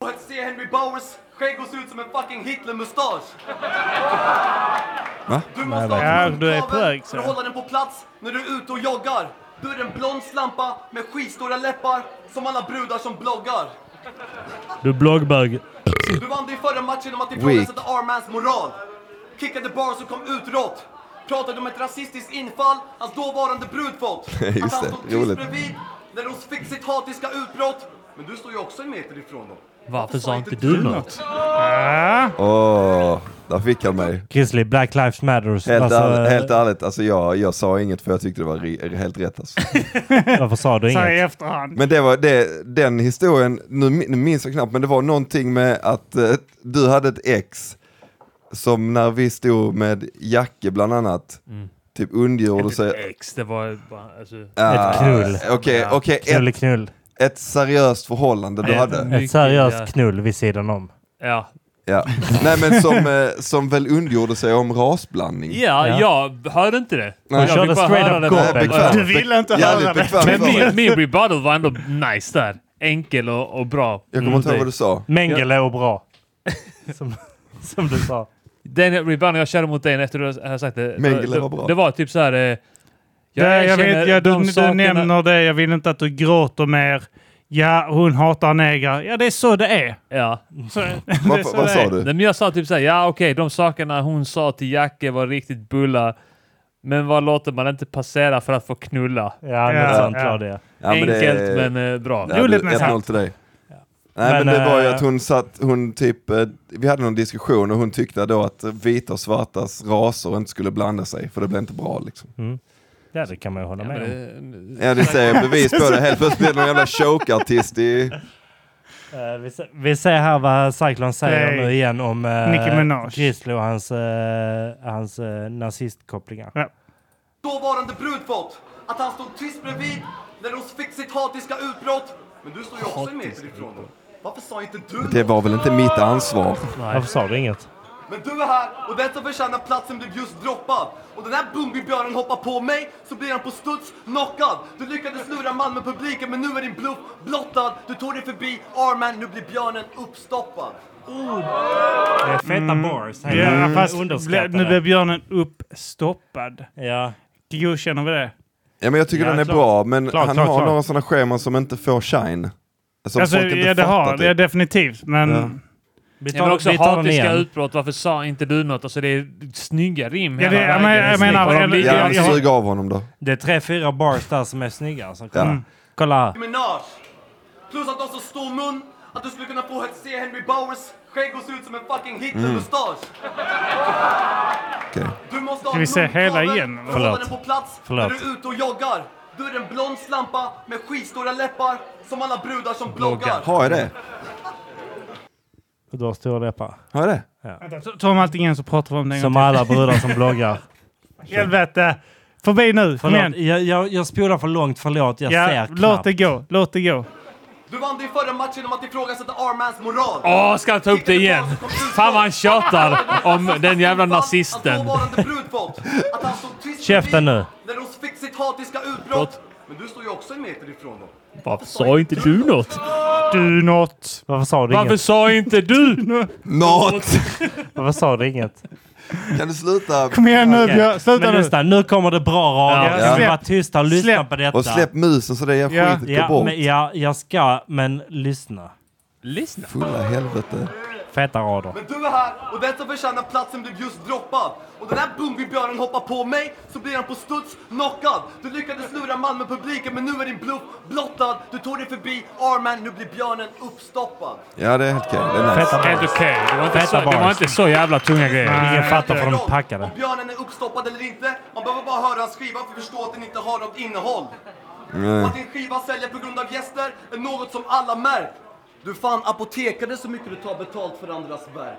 S8: att se Henry Bowers skägg och se ut som en fucking Hitler-mustasch.
S4: Va?
S8: Du måste ha
S2: verkligen.
S8: tunn
S2: Ja, du är
S8: kabel
S2: på väg,
S8: för
S2: så.
S8: att hålla den på plats när du är ute och joggar. Du är en blond slampa med skitstora läppar som alla brudar som bloggar.
S1: Du bloggbög.
S8: Du vann din förra match genom att
S4: Weak.
S8: ifrågasätta Armans moral. Kickade bar som kom utrått. Pratade om ett rasistiskt infall hans dåvarande brud
S4: [LAUGHS]
S8: fått. Att
S4: Just
S8: han
S4: det,
S8: stod tyst
S4: roligt.
S8: bredvid när hon fick sitt hatiska utbrott. Men du står ju också en meter ifrån dem.
S3: Varför sa inte du något?
S4: Åh, där fick han mig.
S1: Grizzly, Black Lives Matters.
S4: Helt,
S1: Alltså,
S4: ärligt, helt ärligt, alltså jag, jag sa inget för jag tyckte det var ri- helt rätt. Alltså.
S1: Varför sa du
S2: Så här i
S1: inget?
S2: efterhand.
S4: Men det var det, den historien, nu, mi- nu minns jag knappt, men det var någonting med att eh, du hade ett ex som när vi stod med Jacke bland annat,
S2: Mm.
S4: typ undergjorde sig.
S3: Ex, det var bara... Alltså,
S4: Ah,
S1: Ett knull.
S4: Okej,
S3: Ja.
S4: okej,
S1: Knull,
S4: ett,
S1: knull.
S4: ett seriöst förhållande du
S3: Nej,
S4: hade.
S1: Ett
S3: Mycket, ja.
S1: seriöst knull vid sidan om.
S3: ja.
S4: Ja. Nej men som, eh, som väl undergjorde sig om rasblandning.
S3: Ja, jag hörde inte det.
S4: Nej.
S3: Jag
S1: Körde
S3: fick bara
S1: straight
S3: höra
S1: up
S3: det
S1: gap.
S3: på-
S4: Nej, bekvämt.
S2: Du ville inte
S4: Jävligt
S2: höra det.
S4: bekvämt
S3: Men
S4: var
S3: min,
S4: det.
S3: min rebuttal var ändå nice där. Enkel och, och bra.
S4: Jag kommer inte ihåg vad du sa.
S1: Mengele och bra. [LAUGHS] Som, som du sa.
S3: Den rebuttal jag körde mot dig efter du hade sagt det.
S4: Mengele
S3: det-
S4: var bra.
S3: Det var typ så här... eh, Jag,
S2: Jag, jag
S3: erkänner
S2: vet, jag, du,
S3: de
S2: du
S3: sakerna-
S2: nämner det, jag vill inte att du gråter mer. Ja, hon hatar negrar. Ja, det är så det är.
S3: Ja.
S2: Så,
S4: Mm. Vad,
S2: så
S4: vad
S2: [LAUGHS] det
S4: sa
S2: är.
S4: du?
S3: Nej, men jag sa typ såhär, ja okej, de sakerna hon sa till Jacke var riktigt bulla. Men vad låter man inte passera för att få knulla?
S1: Ja,
S2: Ja,
S1: något sånt
S2: ja.
S1: var det.
S4: Ja, men det-
S3: Enkelt men eh, bra.
S4: Ja,
S2: Roligt
S4: du,
S2: men
S4: 1-0
S2: sant.
S4: till dig. Nej men,
S1: Men,
S4: det var ju
S1: eh,
S4: att hon satt, hon typ, eh, vi hade någon diskussion och hon tyckte då att eh, vita och svartas raser inte skulle blanda sig för det blev inte bra liksom.
S1: Ja, det kan man ju hålla med om. Mm.
S4: Ja det ser jag bevis på det, helt plötsligt blir det någon jävla choke-artist i...
S1: Eh, vi, se, vi ser här vad Cyclone säger
S2: Nej.
S1: nu igen om eh,
S2: Nicki Minaj.
S1: Grizzly och hans, eh, hans eh, nazistkopplingar.
S2: Ja.
S8: Dåvarande brud fått. Att han stod tyst bredvid när hon fick sitt hatiska utbrott. Men du står ju också en meter ifrån dem. Varför sa inte du
S4: Det
S8: något?
S4: var väl inte mitt ansvar?
S1: Varför sa du inget?
S8: Men du är här och den som förtjänar platsen blev just droppad. Och den här Bumbibjörnen hoppar på mig så blir han på studs knockad. Du lyckades lura Malmö-publiken men nu är din bluff blottad. Du tog dig förbi Arman, nu blir björnen uppstoppad.
S1: Det är feta
S4: Mm.
S1: bars. Här.
S2: Ja, fast
S1: Underskattade.
S2: ble- nu blev björnen uppstoppad.
S1: Ja.
S2: Godkänner vi det?
S4: Ja men jag tycker
S2: Ja,
S4: den är
S2: klart.
S4: bra, men
S2: Klart,
S4: han
S2: klart,
S4: har
S2: klart.
S4: några sådana scheman som inte får shine. Som
S2: alltså,
S4: folk inte
S2: ja, det
S4: fattar.
S2: har
S4: typ.
S2: det definitivt, men...
S4: Ja.
S1: Vi
S3: Ja, men också
S1: vi tar den
S3: hatiska
S1: igen.
S3: utbrott. Varför sa inte du något? Alltså det är snygga rim
S2: Ja,
S3: hela
S2: det- jag
S3: vägen.
S2: men- jag
S3: Snyggt.
S2: menar-
S3: Och de
S2: eller-
S3: ligger-
S4: Ja,
S2: jag-
S4: men
S2: jag har-
S4: sug av honom då.
S1: Det är tre, fyra bars där som är snygga. Alltså, kolla.
S4: Ja.
S1: kolla här.
S8: Minaj. Plus att du har så stor mun att du skulle kunna få se Henry Bowers skägg och se ut som en fucking Hitler-mustasch.
S4: Okej.
S8: Du måste ha
S2: Ska vi se
S8: munkavle
S2: hela igen?
S8: för att
S1: Förlåt.
S8: hålla den på plats
S1: Förlåt.
S8: när du är ute och joggar. Du är en blond slampa med skitstora läppar som alla brudar som
S3: Bloggar.
S8: bloggar.
S4: Har jag det?
S1: Du har stora läppar.
S4: Har jag det?
S2: Ta- Ta om allting igen så pratar vi om det en gång
S1: Som alla brudar som bloggar.
S2: till. Helvete! Förbi nu, [LAUGHS] kom
S1: Förlåt,
S2: igen.
S1: jag, jag, jag spolar för långt. Förlåt, jag
S2: Ja,
S1: ser knappt.
S2: låt det gå, låt det gå.
S8: Du vann din förra match genom att ifrågasätta Armans moral.
S3: Åh, ska han ta upp det igen? Fan vad han tjatar om den jävla
S8: Att
S3: nazisten.
S8: dåvarande brud fått. Att han stod tyst
S1: Käften nu.
S8: när de fick sitt hatiska utbrott. Men du står ju också en meter ifrån dem.
S3: Varför sa inte du något?
S2: Du något.
S1: Varför sa du
S3: Varför
S1: inget?
S3: sa inte du?
S4: Not!
S1: Varför sa du inget?
S4: Kan du sluta?
S2: Kom igen nu Björn, sluta
S1: Men
S2: nu.
S1: lyssna, nu kommer det bra radio.
S2: Ja.
S1: Kan vi
S2: Släpp.
S1: vara tysta och lyssna
S2: Släpp.
S1: på detta?
S4: Och släpp musen så det är
S2: Ja.
S4: skit går
S1: ja,
S4: bort.
S1: men, ja, jag ska, men lyssna.
S3: Lyssna.
S4: Fulla helvete.
S1: Feta rader.
S8: Men du är här och den som förtjänar platsen blev just droppad. Och den här Bumbibjörnen hoppar på mig så blir han på studs knockad. Du lyckades lura Malmö-publiken men nu är din bluff blottad. Du tog dig förbi Arman, nu blir björnen uppstoppad.
S4: Ja det är helt okej, det är nice.
S1: Feta
S3: Helt
S1: bars.
S3: okej. Det var inte
S1: Feta
S3: så- Det var
S1: bars.
S3: inte så jävla tunga grejer.
S1: Ingen fattar för de
S8: Roll,
S1: är packade.
S8: Om björnen är uppstoppad eller inte, man behöver bara höra hans skiva för att förstå att den inte har något innehåll.
S4: Mm.
S8: Att din skiva säljer på grund av gäster är något som alla märkt. Du fan apotekade så mycket du tar betalt för andras verk.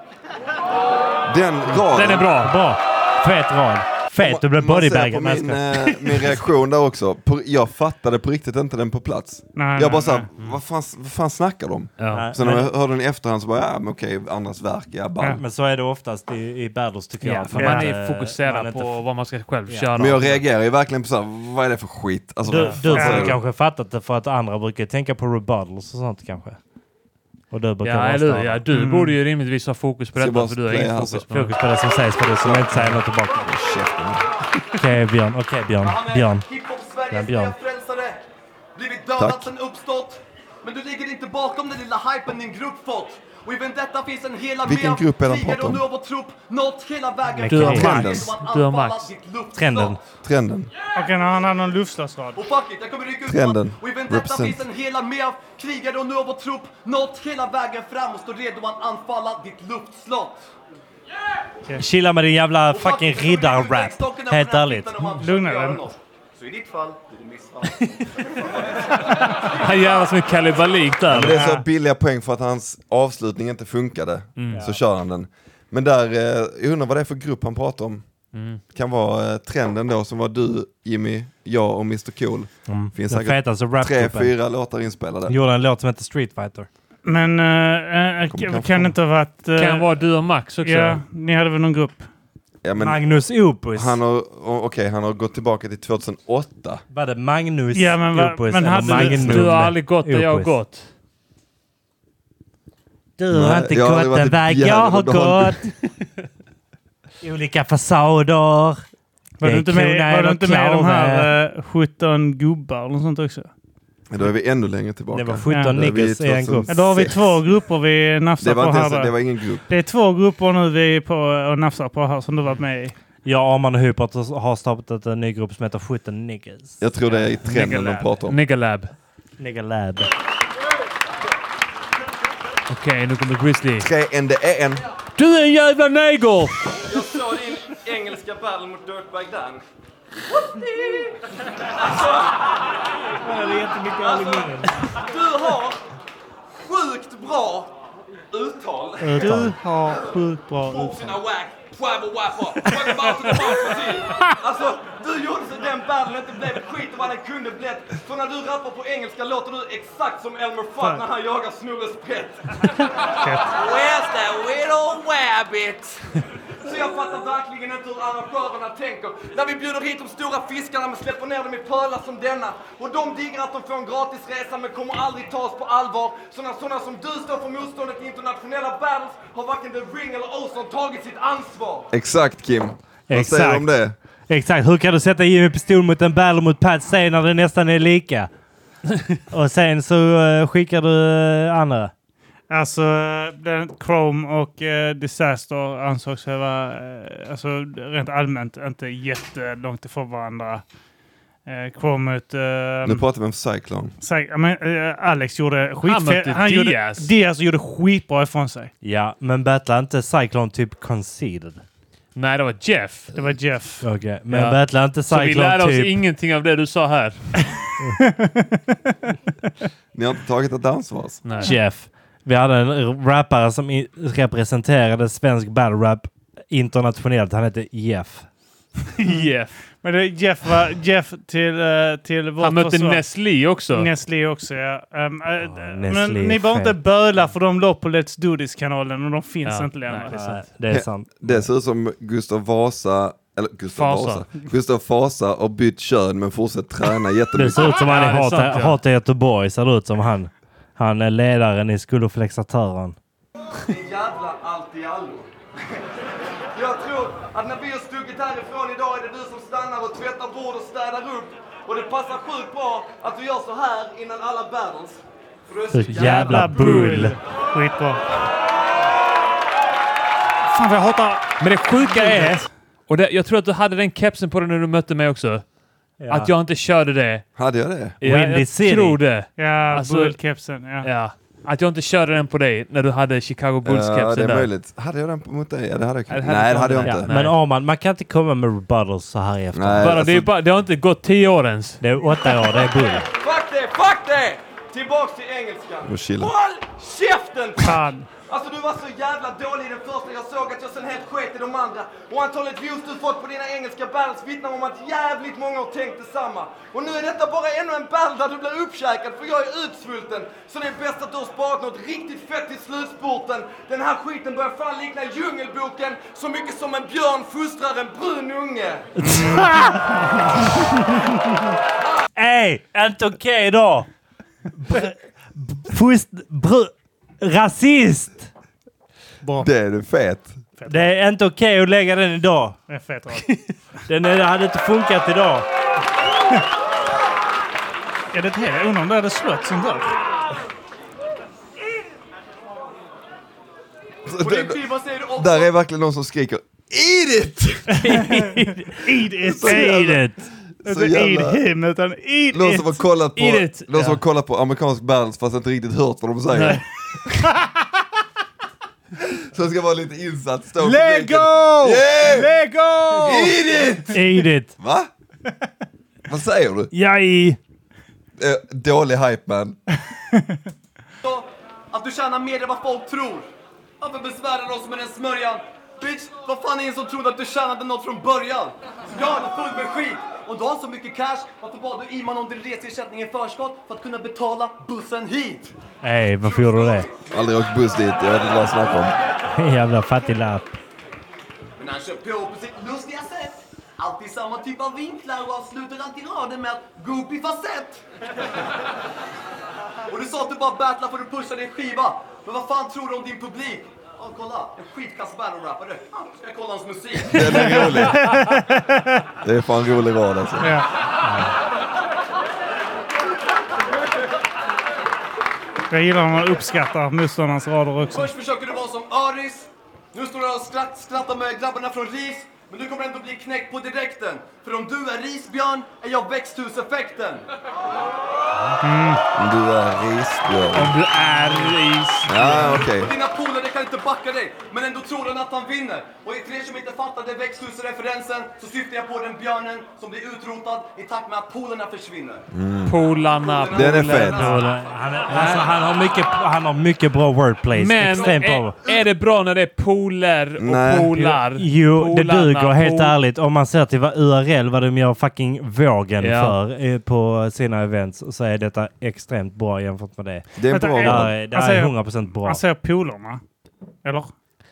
S4: Den raden.
S3: Den är bra.
S1: Bra. Fet rad. Fet, du blev
S4: Man ser på
S1: bodybagad. Nej, jag
S4: min,
S1: skojar.
S4: eh, min reaktion där också. På, jag fattade på riktigt inte den på plats.
S2: Nej,
S4: jag bara
S2: nej,
S4: såhär, vad fan, vad fan snackar de?
S1: Mm. Nej,
S4: Sen när
S1: men-
S4: jag hörde den i efterhand så bara, ja men okej, andras verk, ja bam.
S1: Men så är det oftast i, i battles tycker
S3: Ja,
S1: jag.
S3: för
S1: att,
S3: man
S1: eh,
S3: är
S1: man
S3: fokuserad
S1: inte-
S3: på vad man ska själv köra.
S4: Men jag reagerar ju verkligen på såhär, vad är det för skit? Alltså,
S1: Du,
S4: vad fan
S1: du
S4: säger
S1: borde kanske fattat det för att andra brukar tänka på rebuttals och sånt kanske. Och du brukar
S3: Ja,
S1: vara
S3: eller hur?
S1: större.
S3: Ja, du borde ju rimligtvis ha fokus på
S4: Ska
S3: detta,
S4: bara
S3: för du har
S4: playa
S3: ingen
S4: alltså.
S3: fokus på det.
S1: Fokus på det som sägs för det som inte säger något tillbaka.
S4: Käften.
S1: Okej Björn, okej Björn,
S8: Han är
S1: Björn. Ja,
S8: hiphop-Sveriges
S1: Björn.
S8: nya frälsare. Blivit dödad
S4: Tack.
S8: sen uppstått. Men du ligger inte bakom den lilla hypen din grupp fått. Och i detta finns en hel armé
S4: Vilken grupp är de
S8: krigare
S4: pratar om?
S8: och nu har vår trupp nått hela vägen
S1: Du har
S8: fram.
S4: Max.
S8: Genom att
S3: Du har
S8: anfalla
S3: Max.
S8: ditt luftslott.
S1: Trenden.
S4: Trenden.
S2: Okej, nu har han någon luftslagsrad.
S8: Och fuck it, jag kommer rycka ut
S4: Trenden.
S8: Och i detta
S4: Represent.
S8: finns en hel armé av krigare och nu har vår trupp nått hela vägen fram och står redo att anfalla ditt luftslott.
S1: Chilla med din jävla
S8: Och fuck
S1: fucking
S8: it, jag kommer rycka ut
S1: riddar-rap.
S8: väggstocken när
S1: Helt
S8: man
S1: ärligt.
S8: hittar dem att
S2: Lugna
S8: göra
S2: dig.
S8: något. Så i ditt fall blir det missfall.
S3: Han jävlar som en kalibalik
S4: Men
S3: där.
S4: det är
S1: Äh.
S4: så billiga poäng för att hans avslutning inte funkade.
S1: Mm.
S4: Så kör han den. Men där, eh, jag undrar vad det är för grupp han pratar om.
S1: Mm.
S4: Kan vara eh, trenden då som var du, Jimmy, jag och Mr Cool. Finns
S1: Mm. Den
S4: säkert
S1: fetaste
S4: tre,
S1: rapgruppen.
S4: fyra låtar inspelade.
S1: Gjorde en låt som heter Street Fighter.
S2: Men eh, eh,
S4: Kommer
S2: kan-
S4: kanske
S2: kan
S4: på.
S2: det inte ha varit... eh,
S3: Kan vara du och Max också.
S2: Ja, ni hade väl någon grupp?
S4: Ja, men
S1: Magnus Opus.
S4: han har, o- okej, han har gått tillbaka till 2008.
S1: Var det Magnus
S2: Ja, men va-
S1: Opus?
S2: men
S1: eller
S2: hade du-
S1: Magnum
S3: Du har aldrig gått där jag har
S1: Opus?
S3: gått.
S1: Du har
S4: Nej,
S1: inte
S4: jag har aldrig
S1: gått
S4: varit
S1: den
S4: i
S1: väg jag har
S4: Bjärredalen.
S1: gått. [LAUGHS] Olika fasader.
S2: Var
S1: Det
S2: du
S1: är
S2: inte med,
S1: krona
S2: var du
S1: och
S2: inte med i de
S1: klave.
S2: här eh, 17 gubbar eller något sånt också?
S4: Men Då är vi ännu längre
S1: Det
S4: tillbaka.
S1: var 17
S2: Ja.
S1: niggas i en grupp.
S2: Ja, då har vi
S4: Sex.
S2: två grupper vi nafsar
S4: det var,
S2: på
S4: inte
S2: här.
S4: ens, det
S2: då.
S4: var ingen grupp.
S2: Det är två grupper nu vi är på eh, och nafsar på här som du varit med i.
S1: Jag, Arman och Hupert har startat en ny grupp som heter 17 niggas.
S4: Jag tror det är i trenden de pratar om.
S3: Nigga lab.
S1: Nigga lab.
S3: Okej, nu kommer Grizzly.
S4: Tre en, det är en.
S3: Du är en jävla neger!
S7: Jag slår in engelska battle mot Dirtbag Dan.
S8: Alltså, Du har sjukt bra uttal
S2: Du har sjukt bra
S8: på
S2: utseende.
S8: sina wack wabba-wappa. Alltså, du gjorde så den battlen inte blev ett skit av vad den kunde blivit. För när du rappar på engelska låter du exakt som Elmer Fudd när han jagar Snurre Sprätt. Where's that little rabbit? Så jag fattar verkligen inte hur arrangörerna tänker. När vi bjuder hit de stora fiskarna men släpper ner dem i pölar som denna. Och de diggar att de får en gratisresa men kommer aldrig tas på allvar. Så när sådana som du står för motståndet i internationella battles har varken The Ring eller Ozon tagit sitt ansvar.
S4: Exakt Kim. Vad säger
S1: Exakt.
S4: du om det?
S1: Exakt. Hur kan du sätta Jimmy Pistol mot en battle mot Pat Say när det nästan är
S3: [LAUGHS]
S1: lika? och sen så eh, skickar du eh, andra.
S2: Alltså, eh, den- Chrome och eh, Disaster ansågs vara, eh, alltså rent allmänt, inte jättelångt ifrån varandra. Eh, Chrome eh, ut...
S1: Mm.
S4: Nu pratar vi om Cyclone.
S2: Säg, ja, men, eh, Alex gjorde skitfel.
S3: mötte
S2: gjorde,
S3: Diaz.
S2: Diaz gjorde skitbra ifrån sig.
S1: Ja, men battlar inte Cyclone typ conceded?
S3: Nej, det var Jeff.
S2: Det var Jeff.
S1: Okej, men
S3: Ja.
S1: battlar inte
S3: Så vi lärde
S1: Cyclone
S3: oss
S1: typ...
S3: ingenting av det du sa här.
S4: Ni har inte tagit ett ansvar. alltså.
S3: Nej.
S1: Jeff. Vi hade en rappare som i- representerade svensk battle rap internationellt. Han hette Jeff.
S3: [LAUGHS] Jeff.
S2: Men det, Jeff var Jeff till, eh, till vårt
S3: Han mötte
S2: försvar.
S3: Nestlé också.
S2: Nestlé också, ja. Ehm, eh, d- men
S1: Nestlé är
S2: ni behöver inte
S1: fett.
S2: böla för de låg på Let's Do This-kanalen och de finns
S3: Ja,
S2: inte längre.
S3: nej, det är sant.
S1: Nej, Eh, det är sant.
S4: Det ser ut som Gustav Vasa, eller Gustav
S3: Fasa.
S4: Vasa, Gustav Fasa har bytt kön men fortsätter
S3: [LAUGHS]
S4: träna
S1: Det
S4: jättemycket.
S1: ser ut som han
S3: Ja,
S1: är
S3: det är
S1: hata,
S3: sant, ja.
S1: hata Göteborg. Ser det ut som han. Han är ledaren i Skoloflexatören.
S8: Din jävla allt-i-allo. [LAUGHS] Jag tror att när vi har stuckit härifrån idag är det du som stannar och tvättar bord och städar upp. Och det passar sjukt bra att du gör så här innan alla battles. För du är
S1: Så jävla bull.
S2: Skitbra. Fan vad jag hatar...
S3: Men det sjuka är... Och det, jag tror att du hade den kepsen på dig när du mötte mig också. Att jag inte körde det.
S4: Hade jag det?
S3: Ja,
S1: Windy
S3: jag
S1: City.
S3: tror det.
S2: Ja,
S3: Alltså-
S2: bullkepsen. Ja.
S3: Ja. Att jag inte körde den på dig när du hade Chicago
S4: Ja, det
S3: Bulls-kepsen
S4: är
S3: där.
S4: möjligt. Hade jag den på- mot dig? Ja, det hade jag
S3: Ja,
S4: kanske.
S3: det hade
S4: Nej,
S3: du
S4: det hade jag
S3: inte.
S4: inte.
S3: Ja.
S1: Men Arman, man kan inte komma med rebuttals så här i efterhand.
S4: Nej,
S3: Bara, det, är
S4: alltså,
S3: ju bara, det har inte gått tio år ens.
S1: Det är åtta år, det är bull.
S8: Fuck det, fuck det! Tillbaks till engelskan.
S4: Och chilla.
S8: Håll käften!
S2: Fan.
S8: Alltså du var så jävla dålig i den första, jag såg att jag sen helt sket i de andra. Och antalet views du fått på dina engelska battles vittnar om att jävligt många har tänkt detsamma. Och nu är detta bara ännu en battle där du blir uppkäkad för jag är utsvulten. Så det är bäst att du har sparat något riktigt fett till slutspurten. Den här skiten börjar fan likna Djungelboken så mycket som en björn fostrar en brun unge.
S1: Ey, inte okej då! Br- Fust... Br- rasist!
S4: det är du fet.
S1: Det är inte okej att lägga den idag.
S2: Det är fett rad.
S1: Den är, hade inte funkat idag.
S2: Är det ett hel? Jag undrar om det hade slått som dörr.
S4: Så
S8: Och din
S4: det-
S8: skiva säger du också
S4: Där är verkligen någon som skriker Eat it!
S2: Eat it!
S1: Säg det!
S4: Så
S2: Inte
S4: jävla-
S2: eat him, utan eat
S4: Någon som har
S2: it!
S4: kollat på,
S3: Eat it.
S4: någon som
S3: Ja.
S4: har kollat på amerikansk battles fast inte riktigt hört vad de säger. [LAUGHS] Så det ska vara lite insatt. Stå i publiken. Yeah!
S2: Lego!
S4: Eat it!
S1: Eat it!
S4: Va? Vad säger du?
S1: Jaj!
S4: Eh, dålig hype man.
S8: Så att du tjänar mer än vad folk tror. Varför besvärar du oss med den smörjan? Bitch, vad fan är en som trodde att du tjänade något från början? Ja, du är full med skit. Om du har så mycket cash, varför bad du Iman om din reseersättning i förskott för att kunna betala bussen hit?
S1: Ey, varför gjorde du det?
S4: Aldrig åkt buss dit, jag vet inte vad jag snackar om.
S1: Jävla fattiglapp.
S8: Men han kör på på sitt lustiga sätt. Alltid samma typ av vinklar och avslutar alltid raden med att gå upp i falsett. och du sa att du bara battlar för att pusha din skiva. Men vad fan tror du om din publik? Åh, kolla, en skitkass battle-rappare. Ah, Ska jag kolla hans musik?
S4: Den är rolig. Det är fan rolig rad alltså.
S2: Jag gillar när man uppskattar motståndarnas rader också.
S8: Först försöker du vara som Öris. Nu står du och skratt, skrattar med grabbarna från RIS. Men du kommer ändå bli knäckt på direkten. För om du är risbjörn är jag växthuseffekten.
S4: Du är risbjörn.
S3: Om du är ris.
S4: Ja, okej.
S8: Dina polare kan kan inte backa dig, men ändå tror han att han vinner. Och till er som inte fattade växthusreferensen så syftar jag på den björnen som blir utrotad i takt med att polerna försvinner.
S3: Polarna,
S8: Den
S4: Den är
S3: polen.
S4: fet.
S1: Han, alltså, han, har mycket, han har mycket bra wordplay.
S3: Men
S1: Extremt bra.
S3: är, är det bra när det är poler och
S4: Nej.
S3: polar?
S1: Jo, det
S3: Polarna,
S1: duger helt
S3: pol-
S1: ärligt. Om man ser till vad URL, vad de gör fucking vågen
S3: Ja.
S1: för eh, på sina events, så är detta extremt bra jämfört med det.
S4: Det är en
S2: Vänta,
S4: bra
S2: är-
S4: låt.
S1: Där, är- där
S2: Alltså,
S1: är
S2: jag-
S1: 100% bra.
S2: Han säger polarna. Eller?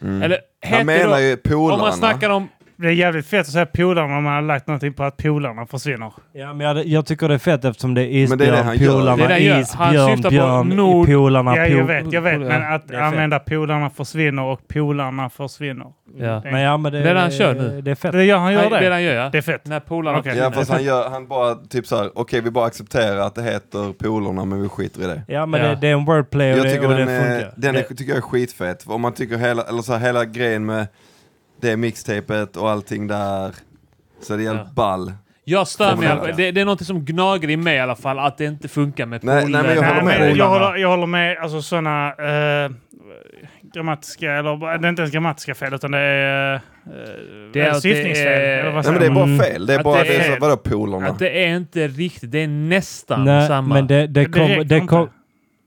S3: Eller
S4: Han
S3: heter
S4: menar
S3: det,
S4: ju polarna.
S3: Om man snackar om...
S2: Det är jävligt fett att säga polarna om man har lagt någonting på att polarna försvinner.
S1: Ja, men jag, jag tycker det är fett eftersom det är
S4: Men det är det
S1: isbjörn,
S4: han gör.
S3: Det är det
S1: polarna,
S3: han gör. Han
S1: isbjörn,
S3: syftar på
S1: björn,
S3: nord-
S1: polarna,
S2: Ja,
S1: pol-
S2: jag vet, jag vet. Men att
S1: Det är fett.
S2: använda polarna försvinner och polarna försvinner.
S3: Ja.
S1: Men ja, men det,
S3: Det är det han kör nu.
S1: Det är fett.
S2: Det gör han gör
S3: Nej,
S2: det.
S3: han gör ja.
S2: Det är fett.
S3: När polarna...
S2: Okej.
S4: Ja fast han, gör, han bara typ såhär, okej vi bara accepterar att det heter polarna men vi skiter i det.
S1: Ja, men
S3: Ja.
S1: Det, det är en wordplay och,
S4: Jag
S1: det,
S4: tycker
S1: och
S4: den,
S1: det
S4: är,
S1: funkar.
S4: den är,
S1: Det-
S4: tycker jag är skitfett. Om man tycker hela, eller så här, hela grejen med det mixtapet och allting där. Så det är jävligt
S3: Ja.
S4: ball.
S3: Jag stör mig.
S4: Polarna.
S3: Det, det är något som gnager i mig i alla fall, att det inte funkar med
S4: Nej,
S3: poler.
S4: nej, men jag håller med.
S2: Nej, men jag,
S3: polarna.
S2: håller, jag håller med. Alltså sådana eh, grammatiska, eller bara- det är inte ens grammatiska fel utan det är, eh,
S3: Det är att
S2: syftningsfel.
S3: det är-
S2: eller
S4: Nej
S2: vad säger
S4: Alltså, men det är
S2: man?
S4: bara fel. Det är
S3: Att
S4: bara,
S3: det
S4: det är
S2: mm. är-
S4: så, vadå polarna?
S3: Att det är inte riktigt, det är nästan
S1: Nej,
S3: samma.
S1: men det, det,
S2: Det
S1: kommer-
S2: räcker
S1: det, kom,
S2: inte.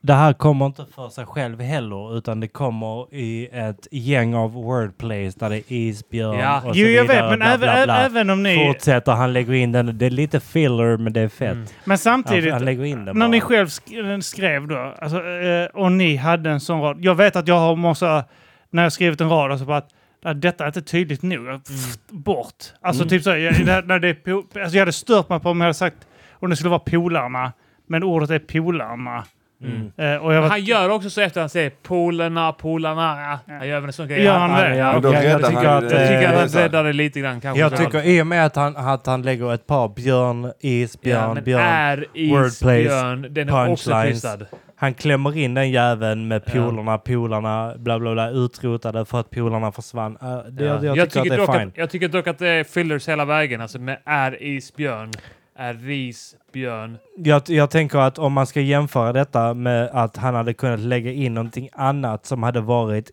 S1: det här kommer inte för sig själv heller, utan det kommer i ett gäng av wordplays där det är isbjörn
S3: Ja.
S1: och så
S2: Jo, jag
S1: vidare.
S2: vet, men
S1: bla,
S2: även,
S1: bla, bla.
S2: även om ni...
S1: Fortsätter, han lägger in den. Det är lite filler, men det är fett.
S2: Men
S1: Han,
S2: samtidigt,
S1: han lägger in den
S2: när ni
S1: bara.
S2: själv sk- eh, skrev då, alltså, eh, och ni hade en sån rad. Jag vet att jag har massa, när jag skrivit en rad, alltså bara att "Nej, detta är inte tydligt nog.
S1: Mm.
S2: Jag- Pff, Bort. Alltså typ så, här, jag, när, när det är po- alltså, jag hade stört mig på om jag hade sagt, om det skulle vara polarna, men ordet är polarna.
S1: Mm.
S2: Eh, och jag var,
S3: Han gör också så efter han säger polerna, polarna. Ja, han gör även en sån grej.
S2: Gör han det?
S1: Ja,
S4: Men då
S1: jag- jag
S4: räddar
S1: tycker
S4: han ju
S1: att,
S4: det.
S1: eh,
S3: Jag tycker att han
S4: så här.
S3: räddar det lite grann kanske.
S1: Jag
S3: Så
S1: tycker i och med att han, att han lägger ett par björn, isbjörn,
S3: men
S1: björn.
S2: äh.
S3: Är
S1: wordplays,
S3: isbjörn, den är också
S1: punchlines.
S3: twistad.
S1: Han klämmer in den jäveln med polarna, polarna, bla bla bla, utrotade för att polarna försvann. Eh, det,
S3: Ja.
S1: jag, jag, tycker, att
S3: dock
S1: det är fine.
S3: jag tycker dock att det är fillers hela vägen. Alltså med är isbjörn, är risbjörn.
S1: Jag, jag tänker att om man ska jämföra detta med att han hade kunnat lägga in någonting annat som hade varit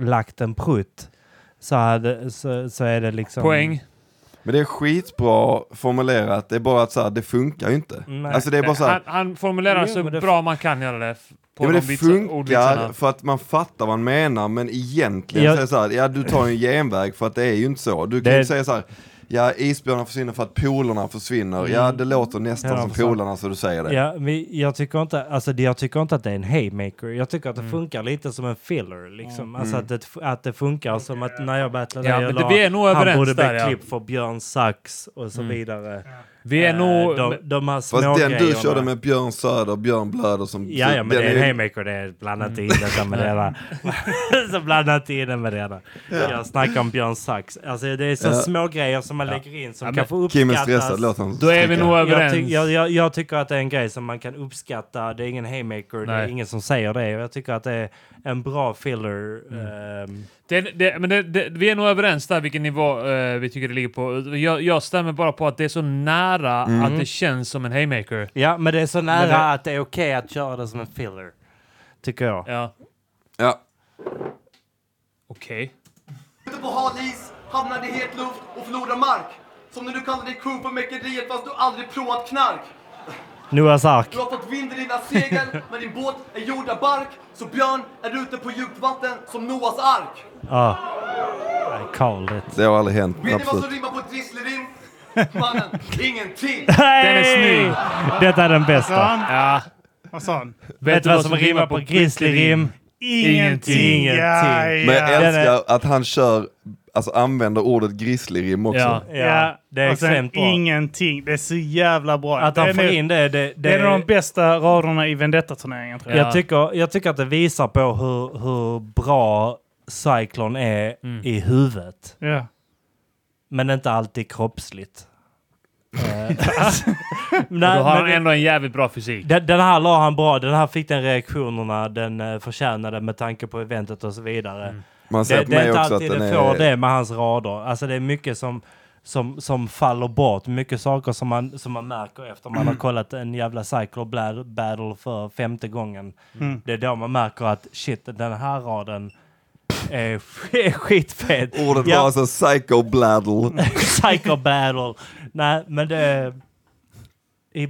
S1: lagt en prutt så, hade, så, så är det liksom...
S4: Mm.
S3: Poäng.
S4: Men det är skitbra formulerat. Det är bara att så här, det funkar ju inte.
S1: Nej.
S4: Alltså det är bara så här,
S3: Han, han formulerar
S1: Jo,
S3: så
S1: men det-
S3: bra man kan göra det. f- På
S4: Ja,
S3: de
S4: men det
S3: vitsa-
S4: funkar
S3: ordvitsarna.
S4: för att man fattar vad han menar, men egentligen
S1: Ja.
S4: så är det så här, ja du tar ju en genväg för att det är ju inte så. Du kan
S1: Det-
S4: ju säga så här, ja isbjörnarna försvinner för att polarna försvinner. Ja det låter nästan
S1: Ja,
S4: som
S1: för fan.
S4: polarna så du säger det.
S1: Ja, men jag, tycker inte, alltså, det- jag tycker inte att det är en haymaker. Jag tycker att
S3: Mm.
S1: det funkar lite som en filler. Liksom. Alltså att det, att det funkar som att när jag battlade
S3: Ja,
S1: dig,
S3: men
S1: jag
S3: det- vi är nog överens
S1: Han borde
S3: där,
S1: bli
S3: ja. Mm.
S1: klipp för Björn Sachs och så vidare.
S3: Vi är
S1: Eh,
S3: nog...
S1: de, de här små
S4: Fast den du
S1: grejerna.
S4: körde med Björn Söder, Björn Blöder som...
S1: Ja, ja, men det
S4: den
S1: är en
S4: ju- Mm.
S1: haymaker. Det är blandat in detta med det
S4: [LAUGHS]
S1: där. så blandat in det med det där. Jag snackar om Björn Sachs. Alltså det är så
S4: Ja.
S1: små grejer som man lägger in som kan få
S4: Kim är
S1: uppskattas.
S4: stressad, låt honom
S3: Då är vi
S4: trycka.
S3: nog
S1: jag,
S3: överens.
S1: ty- jag, jag, jag tycker att det är en grej som man kan uppskatta. Det är ingen haymaker, det är
S3: Nej.
S1: ingen som säger det. Jag tycker att det är en bra filler.
S3: Mm.
S1: ehm,
S3: Det, det, men det, det, vi är nog överens där vilken nivå eh, vi tycker det ligger på. Jag, jag stämmer bara på att det är så nära
S4: Mm.
S3: att det känns som en haymaker.
S1: ja, men det är så nära
S3: det-
S1: att det är okej att köra det som en filler. Tycker jag.
S3: Ja,
S4: Ja.
S3: okej.
S8: Ute på hal is, hamnade i het luft och förlorar mark. Som när du kallar dig kung på mäkeriet fast du aldrig provat knark.
S1: Noahs ark.
S8: Du har fått vind i dina segel, men din båt är gjord av bark. Så Björn är ute på djupt vatten som Noas ark.
S1: Ja. I called it.
S4: Det har aldrig hänt,
S8: Vet ni vad
S4: absolut.
S8: som rimmar på grisslerim? Mannen, ingenting!
S3: Den är snygg!
S1: Detta är den bästa.
S2: Fan,
S3: Ja.
S2: vad sa han?
S1: Vet du vad som rimmar på grizzlyrim?
S2: Ingenting! Ja,
S1: Ingenting.
S4: Men
S2: ja.
S4: jag
S1: Den
S4: älskar att han kör, alltså använder ordet grizzlyrim också.
S3: Ja.
S1: Ja, det är
S2: och sen
S1: extremt bra.
S2: ingenting. Det är så jävla bra.
S1: Att
S2: det
S1: han
S2: är
S1: får
S2: nog-
S1: in det, det,
S2: Det är
S1: det,
S2: en av de bästa raderna i Vendetta-turneringen tror jag.
S1: jag, tycker, jag tycker att det visar på hur, hur bra Cyclone är
S3: Mm.
S1: i huvudet.
S2: Ja.
S1: Men inte alltid
S3: [LAUGHS]
S1: kroppsligt. Eh, [LAUGHS]
S3: Då
S1: Nej, men
S3: har han ändå en jävligt bra fysik.
S1: den, den här la han bra. Den här fick den reaktionerna den eh, förtjänade med tanke på eventet och så vidare.
S3: Mm.
S4: Man
S1: Det,
S4: ser på
S1: det är
S4: mig
S1: inte
S4: också att
S1: alltid
S4: den
S1: det får
S4: är...
S1: det med hans rader. Alltså det är mycket som, som, som faller bort. Mycket saker som man, som man märker efter man har kollat en jävla cycle bla- battle för femte gången. Det är då man märker att shit, den här raden är sk- skitfett.
S4: Ordet
S1: Ja.
S4: var så psycho bladdle.
S1: [LAUGHS] Psycho battle. Nej, men det... I,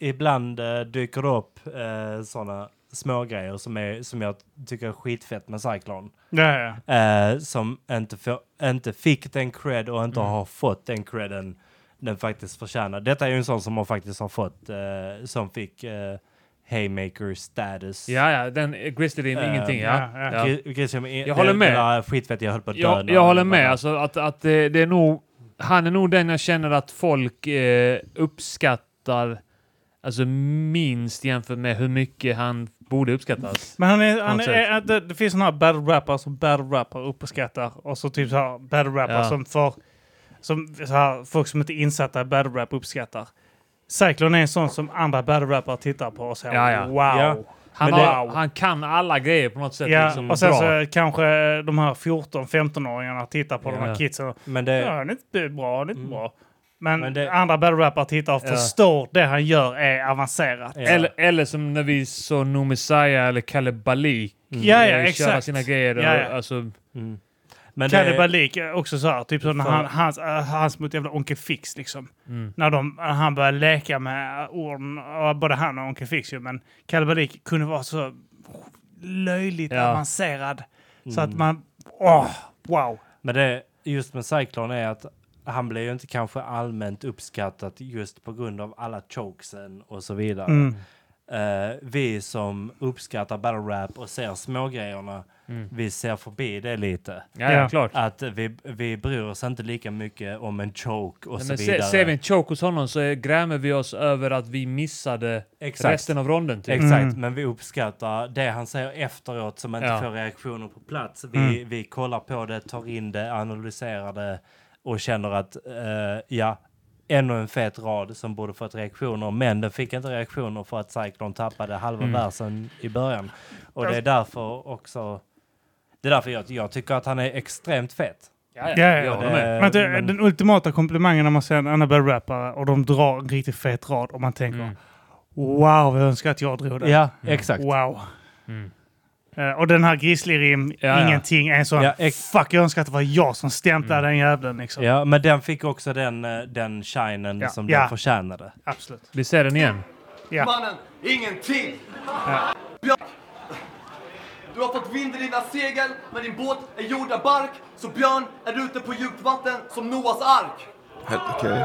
S1: ibland eh, dyker det upp eh, sådana små grejer som, är, som jag tycker är skitfett med Cyclone.
S2: Ja, ja.
S1: Eh, som inte, få, inte fick den cred och inte
S3: Mm.
S1: har fått den credden den faktiskt förtjänar. Detta är ju en sån som har faktiskt har fått, eh, som fick eh, Haymaker status.
S3: Ja, ja. Den eh, Grizzly Dean,
S1: Eh,
S3: ingenting. Ja.
S2: ja,
S3: ja.
S1: Gre- Grisham, i-
S3: Jag håller
S1: det-
S3: med.
S1: Det var skitfett, jag höll på att dö.
S3: Jag,
S1: när-
S3: jag håller med. Alltså, att, att eh, det är nog, han är nog den jag känner att folk eh, uppskattar alltså, minst jämfört med hur mycket han borde uppskattas.
S2: Men han är, han
S3: Något
S2: är, att det, det finns såna här battle rappare som battle rappare uppskattar och så typ så här battle rappare
S3: Ja.
S2: som för som så här, folk som inte är insatta i battle rap uppskattar. Cyclone är en sån som andra battle rappare tittar på och säger
S3: Ja, ja.
S2: wow.
S1: Ja.
S3: Han,
S2: Men det-
S3: har, han kan alla grejer på något sätt.
S2: Ja,
S3: liksom,
S2: och sen
S3: bra.
S2: så kanske de här 14-15-åringarna tittar på de
S3: Ja. Mm.
S2: här kidsen och
S1: Men det,
S2: ja, han är inte bra, han är inte bra. Men,
S1: Men det-
S2: andra battle rappare tittar och förstår det han gör är avancerat.
S1: ja.
S3: Eller, eller som när vi såg No Messiah eller Kalle Balik
S2: Ja, ja,
S3: eh, köra
S2: exakt.
S3: sina grejer.
S2: Ja, ja.
S3: Och, alltså,
S1: men
S2: Kalle
S1: det,
S2: Balik är också så här, typ som när
S1: Fan. Mm.
S2: han, hans, äh, hans mot jävla Onkel Fix liksom. När de, när han började leka med orden, och både han och Onkel Fix ju, men Kalle Balik kunde vara så löjligt
S3: Ja.
S2: avancerad. Så
S1: Mm.
S2: att man, åh, wow.
S1: men det just med Cyclone är att han blev ju inte kanske allmänt uppskattat just på grund av alla chokesen och så vidare.
S3: Mm.
S1: Eh, vi som uppskattar battle rap och ser smågrejerna, vi ser förbi det lite.
S3: Mm. ja,
S2: Ja.
S3: ja, klart.
S1: Att vi, vi bryr oss inte lika mycket om en choke och
S3: Nej,
S1: så
S3: Men
S1: vidare.
S3: se, ser vi en choke hos honom så eh, grämer vi oss över att vi missade
S1: Exakt.
S3: resten av ronden. Typ.
S1: Exakt, men vi uppskattar det han säger efteråt som inte
S3: Ja.
S1: får reaktioner på plats. Vi, vi kollar på det, tar in det, analyserar det och känner att eh, ja, ännu en fet rad som borde fått reaktioner, men den fick inte reaktioner för att Cyclone tappade halva versen i början. Och det är därför också... Det är därför jag, jag tycker att han är extremt fet.
S3: Ja,
S2: Ja, ja,
S3: jag håller
S1: det-
S3: med.
S1: Eh,
S2: men det,
S1: men-
S2: Den ultimata komplimangen när man ser en annan battle-rappare och de drar en riktigt fet rad och man tänker wow, jag önskar att jag drog den.
S1: Mm. Ja, exakt.
S2: Wow.
S1: Mm.
S2: Eh, och den här grizzly-rim,
S3: Ja, ja.
S2: ingenting, är en sån
S1: Ja, ex- Mm.
S2: fuck jag önskar att det var jag som stämplade den jäveln liksom.
S1: Ja, men den fick också den, eh, den shinen
S2: Ja.
S1: som
S2: Ja.
S1: den förtjänade.
S2: Absolut.
S3: Vi ser den igen.
S8: Mannen, ingenting! Björk, du har fått vind i dina segel, men din båt är gjord av bark. Så Björn är ute på djupt vatten som Noas ark.
S4: Helt okej.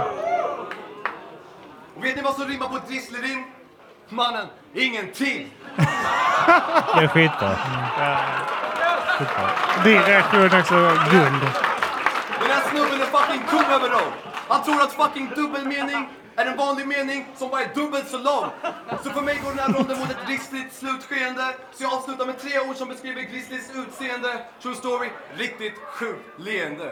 S8: Och vet ni vad som rimmar på grisslerim? Mannen, ingenting!
S1: Det är skitbra. Mm.
S2: Din reaktion Mm. är också guld.
S8: Den här snubben är fucking tom över dem. Han tror att fucking dubbelmening är en vanlig mening som bara är dubbelt så lång. Så för mig går den här ronden mot ett grissligt slutskeende. Så jag avslutar med tre ord som beskriver Grizzlys utseende. True story, riktigt sjukt leende.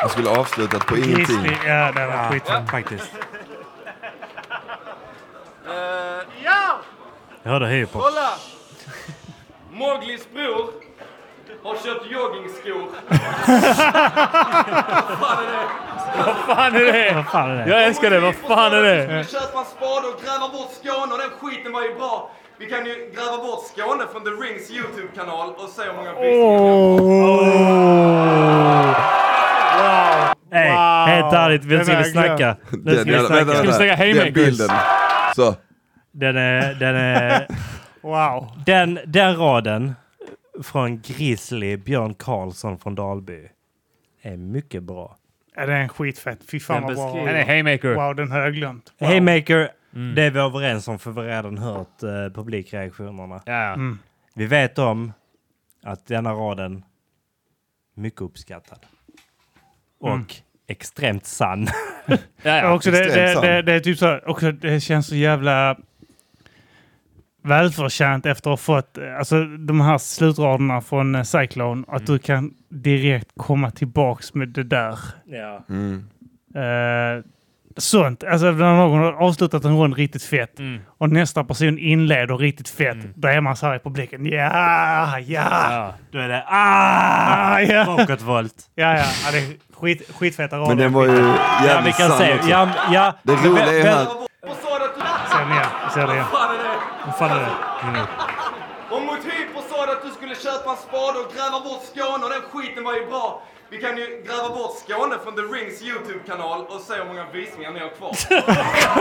S4: Jag skulle avslutat på ingenting.
S2: Grizzly, ja det var skit.
S1: [LAUGHS] faktiskt. Jag hörde hiphop.
S9: Kolla! Moglis bror har köpt joggingskor.
S3: Vad fan är det?
S2: Vad fan är det?
S3: Jag älskar det. Vad fan är det?
S8: Vi skulle köpa en spade och gräva bort Skåne och den skiten var ju bra. Vi kan ju gräva bort Skåne från The Rings YouTube-kanal och se hur många visningar vi har.
S1: Hey, Helt ärligt, vi ska vi
S2: Den är glömd.
S1: snacka. Nu
S4: Den,
S1: ska vi
S4: vänta,
S1: snacka.
S4: vänta,
S3: Ska vi
S4: vänta.
S3: säga
S4: Den
S3: haymakers?
S4: bilden. Så.
S1: Den är... Den, är
S2: Wow.
S1: den, den raden från Grizzly Björn Karlsson från Dalby är mycket bra.
S2: Ja, det är en skitfett. Fy fan
S1: Den
S2: vad bra.
S1: beskriver-
S3: Han är haymaker.
S2: Wow, den har jag glömt. Wow. Mm.
S1: Haymaker, det är vi överens om för vi har redan hört eh, publikreaktionerna.
S3: Ja, ja.
S1: Vi vet om att denna raden mycket uppskattad. Och
S2: Mm.
S1: extremt sann.
S3: ja,
S2: Ja,
S3: ja.
S2: också det, det,
S4: extremt
S2: det, det är typ så här, också det känns så jävla välförtjänt efter att ha fått eh, alltså, de här slutraderna från eh, Cyclone. Att du kan direkt komma tillbaks med det där.
S1: ja.
S2: Eh, sånt. Alltså när någon har avslutat en rond riktigt fett och nästa person inleder riktigt fett. Då är man så här i publiken. Ja, Mm. ja,
S3: ja.
S1: [LAUGHS] Då är det ah,
S2: ah, ja.
S1: bakåtvolt.
S2: Ja, ja. ja det är skit, skitfeta rader.
S4: Men den var ju
S1: Ja, vi
S4: jävligt
S1: kan
S4: sann
S1: se.
S4: också.
S1: Ja, ja.
S4: Det roliga är
S1: Vem-
S4: här,
S8: Och sa du att du...
S2: Sen, ja, jag ser det igen.
S8: Fan är det?
S3: Vad fan är det? det? är nu.
S8: Och Motivpo sa du att du skulle köpa en spade och gräva bort Skåne och den skiten var ju bra. Vi kan ju gräva bort Skåne från The Rings YouTube-kanal och se hur många visningar ni har kvar.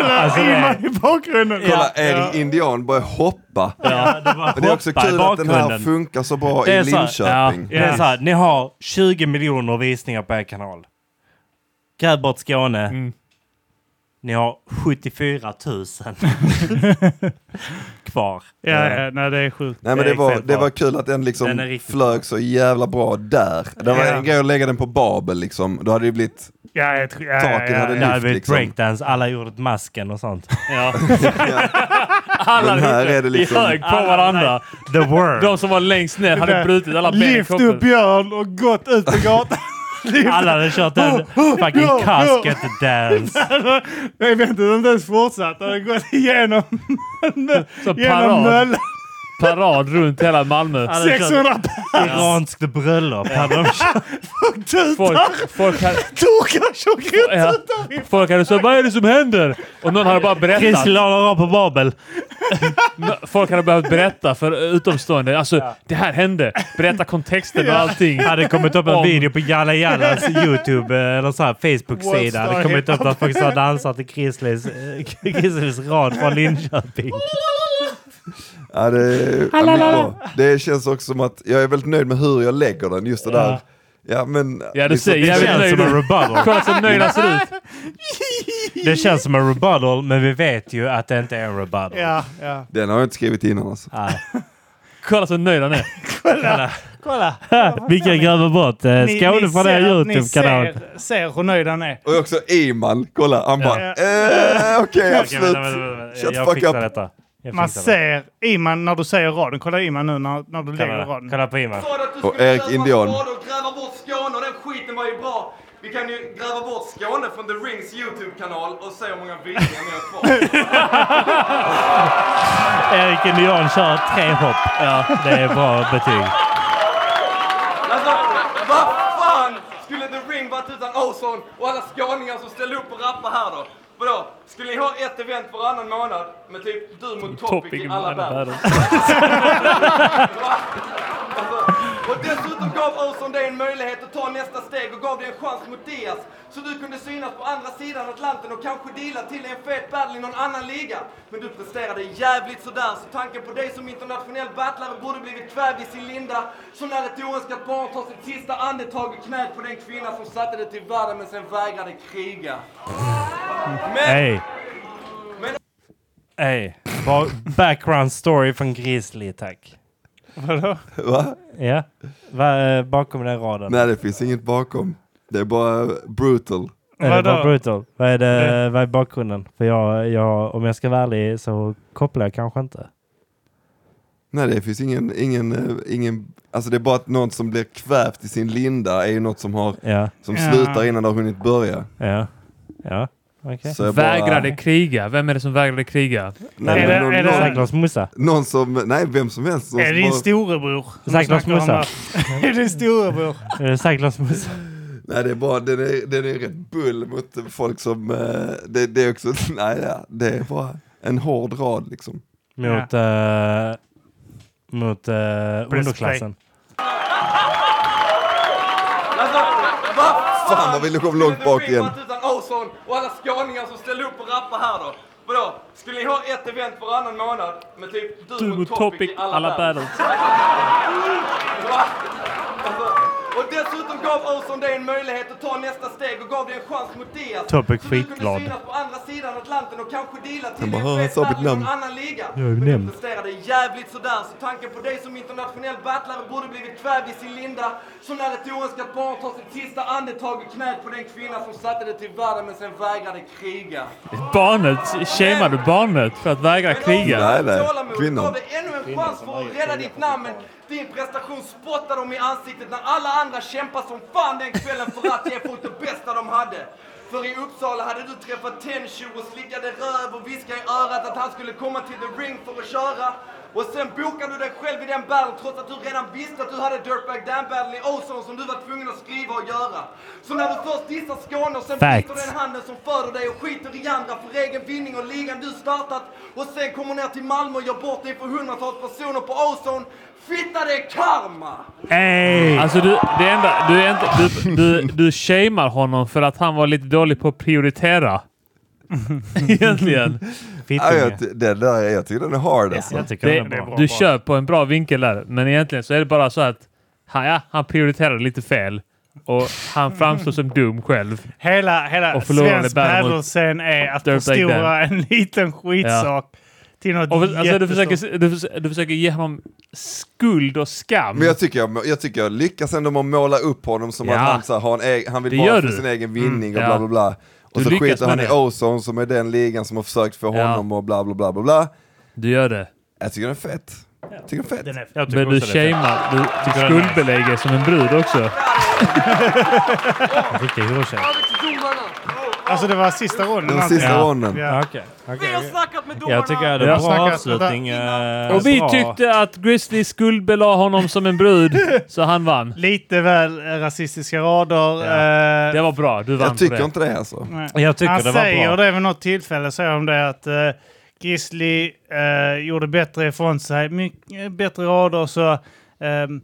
S1: Alltså, det är,
S2: I bakgrunden!
S4: Kolla eh, Erik Indian börjar hoppa.
S1: ja, det var
S4: Men det är också
S1: hoppa i
S4: kul att den här
S1: bakgrunden.
S4: funkar så bra
S1: Det
S4: i
S1: är så här-
S4: Linköping.
S1: Ja, det är så här, ni har 20 miljoner visningar på er kanal. Gräv bort Skåne. Ni har 74 000 kvar. Eh,
S2: Ja, ja, nej det är sjukt.
S4: Nej men
S1: Det
S4: det
S1: är
S4: var,
S1: exakt
S4: det
S1: bra.
S4: var kul att den liksom
S1: Den är riktigt
S4: flög så jävla bra där. Det var
S2: Ja.
S4: en grej att lägga den på Babel liksom. Då hade det blivit...
S2: Ja, jag tror- ja,
S4: Taket
S2: ja,
S4: hade
S1: Det hade
S4: lyft,
S1: blivit
S4: liksom.
S1: breakdance, alla gjorde ett masken och sånt.
S3: Ja.
S4: Men
S3: Alla
S4: här är det
S3: i
S4: liksom...
S3: hög på varandra.
S1: [LAUGHS] The world.
S3: De som var längst ner hade brutit alla ben i
S2: Lyft upp
S3: kroppen.
S2: Björn och gått ut på [LAUGHS] gatan.
S1: Alla hade kört en fucking
S2: ja, ja.
S1: casket dance.
S2: Nej, vänta, de har inte ens fortsatt. De har gått igenom, [LAUGHS]
S3: Så
S2: genom
S3: parad,
S2: möllan.
S3: parad runt hela Malmö.
S1: Alla hade kört
S2: 600
S1: iranskt bröllop. Hade de kört.
S3: Folk, folk, hade,
S2: tokar som
S3: ja, folk hade så vad är det som händer? Och någon hade bara berättat.
S1: Christer la av på Babel.
S3: Nå- Folk hade behövt berätta för utomstående. Alltså, det här hände. Berätta kontexten och allting.
S1: hade kommit upp en
S3: Om-
S1: video på Jalla Jallas Youtube eh, eller så här Facebook-sida.
S2: World
S1: Hade
S2: Star
S1: kommit upp
S2: Hip-Hop.
S1: där folk har dansat till Chrislers, eh, Chrislers rad
S2: [LAUGHS]
S1: från Linköping.
S4: Ja, det, ja, men bra. det känns också som att jag är väldigt nöjd med hur jag lägger den, just det där. Ja men...
S3: Ja, du
S4: liksom-
S3: ser
S1: Det
S3: jävligt
S1: känns
S3: nöjd
S1: som en
S3: ut.
S1: rebuttal.
S3: Kolla så nöjd han ser ut.
S1: Det känns som en rebuttal, men vi vet ju att det inte är en rebuttal.
S2: Ja, ja.
S4: Den har jag inte skrivit innan alltså.
S1: Nej.
S3: Kolla så nöjd han är.
S2: Kolla!
S1: Vi kan gräva bort eh,
S2: Ni-
S1: Skåne
S2: ni
S1: från er
S2: ser-
S1: Youtube-kanal.
S2: Ni ser, ser hur nöjd han är.
S4: Och också Iman, kolla, han bara
S2: Ja.
S4: eh, okej
S1: Okej,
S4: absolut.
S1: vänta, vänta, vänta, vänta.
S4: Shut
S1: Jag
S4: fuck
S1: fixar
S4: up.
S1: detta. Jag
S2: Man
S1: fixar det.
S2: ser Iman när du säger raden. Kolla Iman nu när, när du lägger
S1: Kolla,
S2: raden.
S1: kolla på Iman.
S8: Sa du att du
S4: Och
S8: skulle
S4: Erik
S8: köpa
S4: Indian.
S8: en spade och gräva bort Skåne och den skiten var ju bra. Vi kan ju gräva bort Skåne från The Rings YouTube-kanal och se hur många visningar ni har kvar.
S1: Erik Indian kör tre hopp. Ja, det är bra betyg.
S8: Alltså, vad fan skulle The Ring varit utan Ozon och alla skåningar som ställde upp och rappade här då? Vadå? Skulle ni ha ett event varannan månad med typ du mot Topic i alla battle? Alltså, och dessutom gav Ozon dig en möjlighet att ta nästa steg och gav dig en chans mot Diaz. Så du kunde synas på andra sidan Atlanten och kanske deala till dig en fet battle i någon annan liga. Men du presterade jävligt sådär, så tanken på dig som internationell battlare borde blivit kvävd i sin linda. Som när ett oönskat barn tar sitt sista andetag i knät på den kvinna som satte det till världen men sen vägrade kriga. Men
S1: Hej. Hej. Ba- Background story från Grizzly, tack.
S4: Va?
S1: Ja. Va, eh, bakom den raden.
S4: Nej det finns inget bakom. Det är bara brutal.
S1: Är det
S2: vadå?
S1: bara brutal? Vad är, det, vad är bakgrunden? För jag, jag, om jag ska vara ärlig så kopplar jag kanske inte.
S4: Nej det finns ingen, ingen, eh, ingen, alltså det är bara att någon som blir kvävt i sin linda är ju något som har,
S1: Ja.
S4: som
S2: Ja.
S4: slutar innan det har hunnit börja.
S1: Ja. Ja. Okej.
S4: Så jag bara-
S3: Vägrade kriga. Vem är det som vägrade kriga?
S4: Nej,
S2: Är
S4: men
S2: det-
S4: någon,
S2: är det-
S4: någon,
S1: Säkert Musa.
S4: någon som, nej vem som helst. Någon
S2: Är det
S4: som
S2: din
S4: bara-
S2: storebror? som
S1: Sagt något
S2: snackar om
S1: smussar.
S2: här? [LAUGHS] Är det
S3: [LAUGHS]
S2: din storebror?
S1: Är det Cyclops Musa?
S4: Nej det är bara, den är, den är rätt bull mot folk som, eh, det, det är också, [LAUGHS] nej ja, det är bara en hård rad liksom.
S1: Mot... eh, mot eh, underklassen.
S8: Alltså, vad
S4: Fan, vad vi låg långt bak igen.
S8: Skulle du utan Ozon och alla skåningar som ställde upp och rappade här då? Vadå? Skulle ni ha ett event varannan månad med typ du,
S3: Du mot Topic, alla
S8: battle?
S3: battles.
S8: Va? Alltså, och dessutom gav Ozon dig en möjlighet att ta nästa steg och gav dig en chans mot Diaz.
S1: Topic
S8: Så du kunde
S1: skitglad.
S8: synas på andra sidan Atlanten och kanske deala till
S4: Han bara,
S8: en
S4: "Hör, han
S8: fet
S4: sa mitt
S8: battle i någon
S4: namn."
S8: annan liga.
S1: Jag är
S8: Men du
S1: nämnd.
S8: presterade jävligt sådär, så tanken på dig som internationell battlare borde blivit kvävd i sin linda. Som när ett oönskat barn tar sitt sista andetag i knät på den kvinna som satte det till världen men sen vägrade kriga.
S3: Barnet. Shamear du barnet för att vägra kriga?
S4: Nej, nej.
S8: Tålamod
S4: Kvinnan.
S8: gav dig ännu en chans för att rädda ditt namn men din prestation spottade dem i ansiktet när alla andra kämpade som fan den kvällen för att ge folk det bästa de hade. För i Uppsala hade du träffat Tenshu och slickade röv och viskade i örat att han skulle komma till The Ring för att köra. Och sen bokar du dig själv i den battle trots att du redan visste att du hade Dirtbag Dan-battle i Ozone som du var tvungen att skriva och göra. Så när du först dissar Skåne och sen biter
S1: Facts.
S8: den handen som föder dig och skiter i andra för egen vinning och ligan du startat och sen kommer ner till Malmö och gör bort dig för hundratals personer på Ozone. Fitta det är karma!
S1: Hey!
S3: Alltså du, det enda, du, är inte, du, du, du shamear honom för att han var lite dålig på att
S1: [LAUGHS]
S3: prioritera. Egentligen.
S4: Ja,
S1: Fittunge.
S4: jag, ty- den där, jag tycker den är hard alltså.
S1: Jag tycker
S3: Det,
S1: den är bra.
S3: du kör på en bra vinkel där, men egentligen så är det bara så att han, ja, han prioriterade lite fel och han framstår som dum själv.
S2: Hela, hela
S3: Och förlorade
S2: svensk
S3: battle mot
S2: battle-scen är att
S3: Dirtbag
S2: förstora en liten skitsak till något
S3: Och, alltså, du,
S2: jättestort.
S3: försöker, du, förs- du försöker ge honom skuld och skam.
S4: Men jag tycker jag, jag tycker jag lyckas ändå med att måla upp honom som
S3: Ja.
S4: att han, så här, har en egen, han vill
S3: Det
S4: bara
S3: gör
S4: för
S3: du. Mm,
S4: sin egen vinning och
S3: ja.
S4: bla bla bla.
S3: Du
S4: Och så
S3: lyckas
S4: skiter
S3: med
S4: han i
S3: det.
S4: Ozone som är den ligan som har försökt för
S3: Ja.
S4: honom och bla bla bla bla bla.
S3: Du gör det.
S4: Jag tycker den är fett. Jag tycker den är fett.
S2: Den är
S1: Jag tycker
S3: Men du
S1: också det är fett.
S3: shamear. Du, du
S1: den är nice.
S3: skuldbelägger som en brud också.
S1: Riktig hyrtjej.
S10: Över till domarna!
S2: Alltså det var sista ronden.
S4: Den
S2: allting.
S4: sista
S1: Ja.
S4: ronden.
S2: Ja.
S1: Okej.
S11: Vi har snackat med domarna!
S1: Jag tycker det är
S3: Ja.
S1: en bra
S2: Snacka-
S1: avslutning. eh,
S3: Och vi
S1: bra.
S3: tyckte att Grizzly skuldbelade honom som en
S1: [LAUGHS]
S3: brud, så han vann.
S2: Lite väl eh, rasistiska rader. eh,
S3: Det var bra, du vann
S4: Jag tycker
S3: på det.
S4: inte det alltså.
S2: nej.
S1: Jag tycker
S2: Han
S1: det var
S2: säger
S1: bra.
S2: det vid något tillfälle, säger om det att uh, Grizzly eh, gjorde bättre ifrån sig, mycket bättre rader så ehm,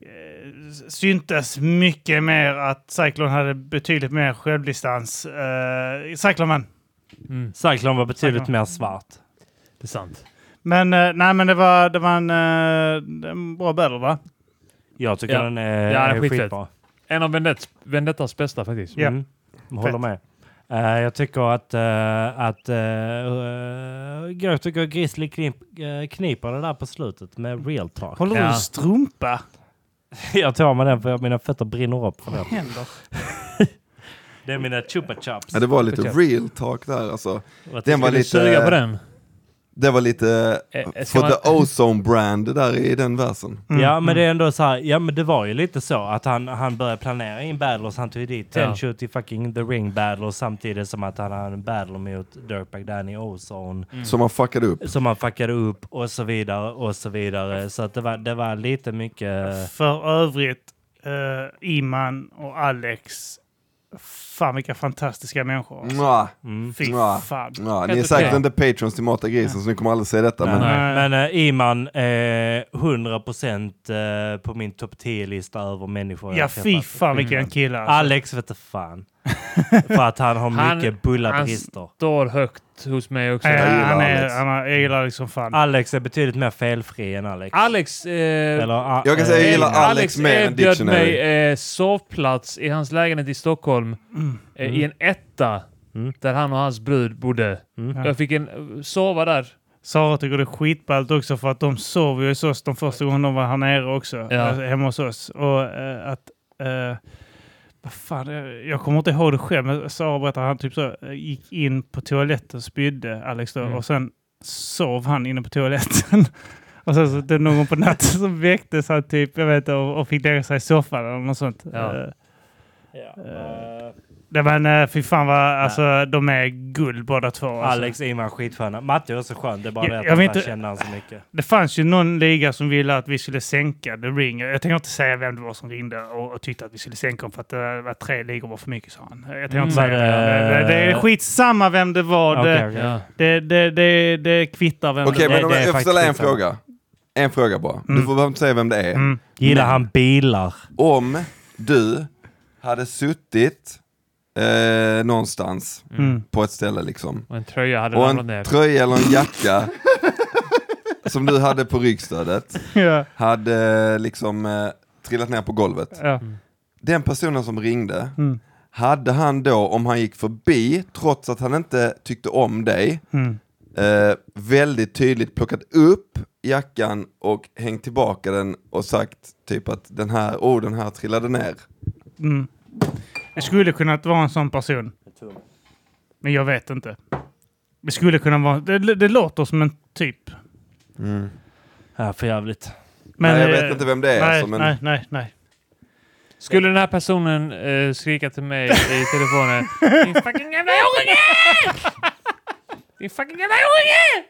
S2: eh, syntes mycket mer att Cyclone hade betydligt mer självdistans. Uh, Cyclone vann.
S1: Cyclone var betydligt
S2: Cyclone.
S1: mer svart.
S3: Mm, Det är sant.
S2: Men, eh, nej, men det var, det var en, eh, en bra battle va?
S1: Jag tycker
S3: Ja.
S1: den är,
S3: Ja, den är
S1: är
S3: skitfett.
S1: skitbra.
S3: En av Vendett, Vendettas bästa faktiskt.
S2: Ja.
S1: Mm. Håller med. Eh, jag tycker att, eh, att eh, jag tycker Grizzly knip, eh, kniper det där på slutet med real talk.
S2: Håller
S3: Ja.
S2: du strumpa?
S1: [LAUGHS] Jag tar med den för mina fötter brinner upp för den.
S2: Händer.
S1: Det är mina chupa chups.
S4: Ja, det var lite real talk där alltså. Den var
S3: Ska du suga på
S4: lite,
S3: den?
S4: det var lite
S3: Eh, ska
S4: för
S3: man-
S4: the ozone brand där i den versen.
S1: Ja, men det är ändå så här. Ja, men det var ju lite så att han, han började planera in battles. Han tog ju dit
S3: Ja.
S1: Tenchu till fucking the ring battle samtidigt som att han hade en battle mot Dirtbag Danny Ozone.
S3: Mm.
S4: Som man fuckade upp.
S1: Som han fuckade upp och så vidare och så vidare. Så att det var, det var lite mycket...
S2: För övrigt, eh, Iman och Alex, fan vilka fantastiska människor. alltså.
S4: Mwah.
S1: Mm.
S2: Fy
S4: Mwah.
S2: fan.
S4: Mwah. Ni är
S3: Mm. Helt
S4: säkert
S3: okej.
S4: inte patrons till Mata Grisen så ni kommer aldrig se detta. Men
S1: Nej. Men eh, Iman är 100% eh, på min topp 10-lista över människor
S2: Ja,
S1: har
S2: fy
S1: träffat.
S2: fan vilken kille alltså.
S1: Alex vet du fan. [LAUGHS] För att han har
S3: Han-
S1: mycket bulla
S3: han-
S1: brister.
S3: Står högt hos mig också.
S2: Eh,
S4: Jag gillar
S2: han är,
S4: Alex.
S2: han är, jag gillar liksom fan.
S1: Alex är betydligt mer felfri än Alex.
S3: Alex... Eh,
S1: Eller, ah,
S4: Jag kan
S1: eh,
S4: säga jag gillar
S1: Iman.
S4: Alex mer än
S3: erbjöd
S4: Dictionary.
S3: mig eh, sovplats i hans lägenhet i Stockholm
S1: Mm.
S3: eh, i en etta där han och hans brud bodde.
S1: Mm.
S3: Jag fick en, eh, sova där.
S2: Sara tycker det är skitballt också för att de sov ju hos oss de första gångerna de var här nere också. Alltså, hemma hos oss. Och eh, att... eh, vad fan, eh, jag kommer inte ihåg det själv, men Sara berättade att han typ så eh, gick in på toaletten, spydde Alex då, och sen sov han inne på toaletten. [LAUGHS] och sen så det någon på natten som väcktes han typ, jag vet inte, och, och fick lägga sig i soffan eller något sånt.
S3: Ja.
S2: Eh, nej, men eh, fy fan vad, alltså de är guld båda två. Alltså.
S1: Alex Iman skitsköna. Matte är också skön. Det är bara
S2: Jag-
S1: det att
S2: jag
S1: jag
S2: vet
S1: inte
S2: inte-
S1: känner han så mycket.
S2: Det fanns ju någon liga som ville att vi skulle sänka The Ring. Jag tänker inte säga vem det var som ringde och, och tyckte att vi skulle sänka dem för att det var tre ligor var för mycket, sa han. Jag tänker inte
S1: Mm.
S2: säga det.
S1: Var det-
S2: Det, det är skitsamma vem det var.
S1: Okej,
S2: det,
S1: okej.
S3: Ja.
S2: Det, det, det, det kvittar vem
S4: Okej,
S2: det
S4: men om
S1: det
S4: jag
S1: är
S4: jag får
S1: faktiskt
S4: ställa en
S1: skitsamma.
S4: fråga. En fråga bara.
S3: Mm.
S4: Du får behöver inte säga vem det är.
S2: Mm.
S1: Gillar han bilar?
S4: Om du hade suttit eh, någonstans
S2: Mm.
S4: på ett ställe liksom.
S3: Och en tröja hade
S4: Och
S3: ramlat ner.
S4: en tröja eller en jacka
S3: [LAUGHS]
S4: som du hade på ryggstödet
S1: Mm.
S2: var. [LAUGHS] Ja,
S4: hade eh, liksom eh, trillat ner på golvet.
S2: ja.
S4: Den personen som ringde,
S2: Mm.
S4: hade han då, om han gick förbi, trots att han inte tyckte om dig,
S2: Mm.
S4: eh, väldigt tydligt plockat upp jackan och hängt tillbaka den och sagt typ att den här, oh den här trillade ner.
S2: Mm. Det skulle kunna vara en sån person. Men jag vet inte. Det skulle kunna vara... Det, det låter som en typ.
S1: Ja, för jävligt.
S2: Men,
S4: nej, jag
S2: eh,
S4: vet inte vem det är
S2: nej,
S4: alltså, men
S2: nej, nej, nej.
S3: Skulle den här personen eh, skrika till mig i
S1: [LAUGHS]
S3: telefonen Din fucking jävla unge! Din fucking jävla unge!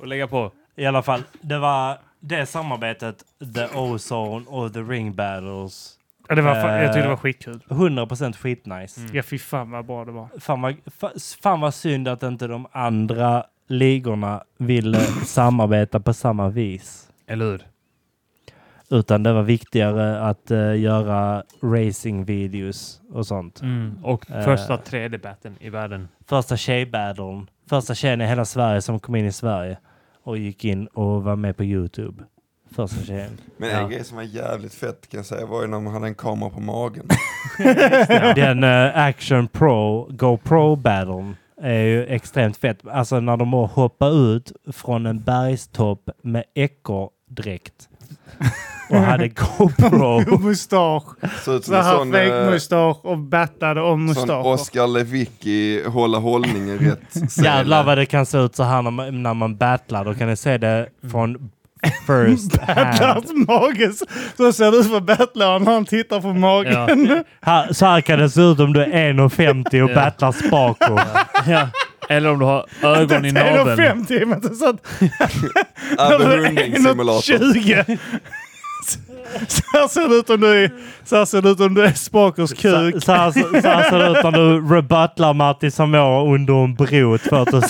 S3: Och lägga på.
S1: I alla fall, det var det samarbetet, The Ozone och The Ring Battles.
S5: Ja, det var, fa- jag tyckte det var
S4: Eh.
S5: skitkul.
S1: 100% skitnice.
S2: Mm.
S5: Ja, fy fan vad bra det var.
S1: Fan vad, fa- fan vad synd att inte de andra ligorna ville samarbeta på samma vis.
S3: Eller hur?
S1: Utan det var viktigare att eh, göra racingvideos och sånt.
S3: Mm. Och
S1: Eh.
S3: första 3D-batten i världen.
S1: Första tjejbattlen. Första tjejen i hela Sverige som kom in i Sverige och gick in och var med på Youtube. Första tjejen.
S4: Men en grej som var jävligt fett kan jag säga var ju när man hade en kamera på
S2: [LAUGHS]
S4: magen.
S1: Den eh, Action Pro, GoPro battlen är ju extremt fett. Alltså när de hoppar ut från en bergstopp med ekorrdräkt och
S3: [LAUGHS]
S1: hade GoPro.
S5: Och [LAUGHS] mustasch.
S4: Såg
S5: Så
S4: ut som en
S5: här
S4: sån, eh,
S5: fake-mustasch och battade om
S4: sån
S5: mustascher.
S4: Oscar Lewicki hålla hållningen rätt.
S2: [LAUGHS]
S4: sele.
S1: Jävlar vad det kan se ut så här när man, när man battlar. Då kan ni se det från
S3: [LAUGHS]
S1: first hand.
S5: Hans mage, så- så ser det ut för battlaren när han tittar på magen.
S3: Ja.
S1: Här, så här kan det se ut om du är 1,50 och
S3: Ja.
S1: battlar Spaco.
S3: ja. Eller om du har ögon i
S5: Det är nog
S3: naveln.
S5: fem timmar så att
S4: [LAUGHS] Abbe
S5: något
S4: Runding-simulator.
S5: 20. [LAUGHS] Så här ser det ut om du är, så här ser det ut om du är Spakers kuk.
S1: Så, så, här, så här ser det ut när du rebuttlar Martin Samoa under en bro 2012.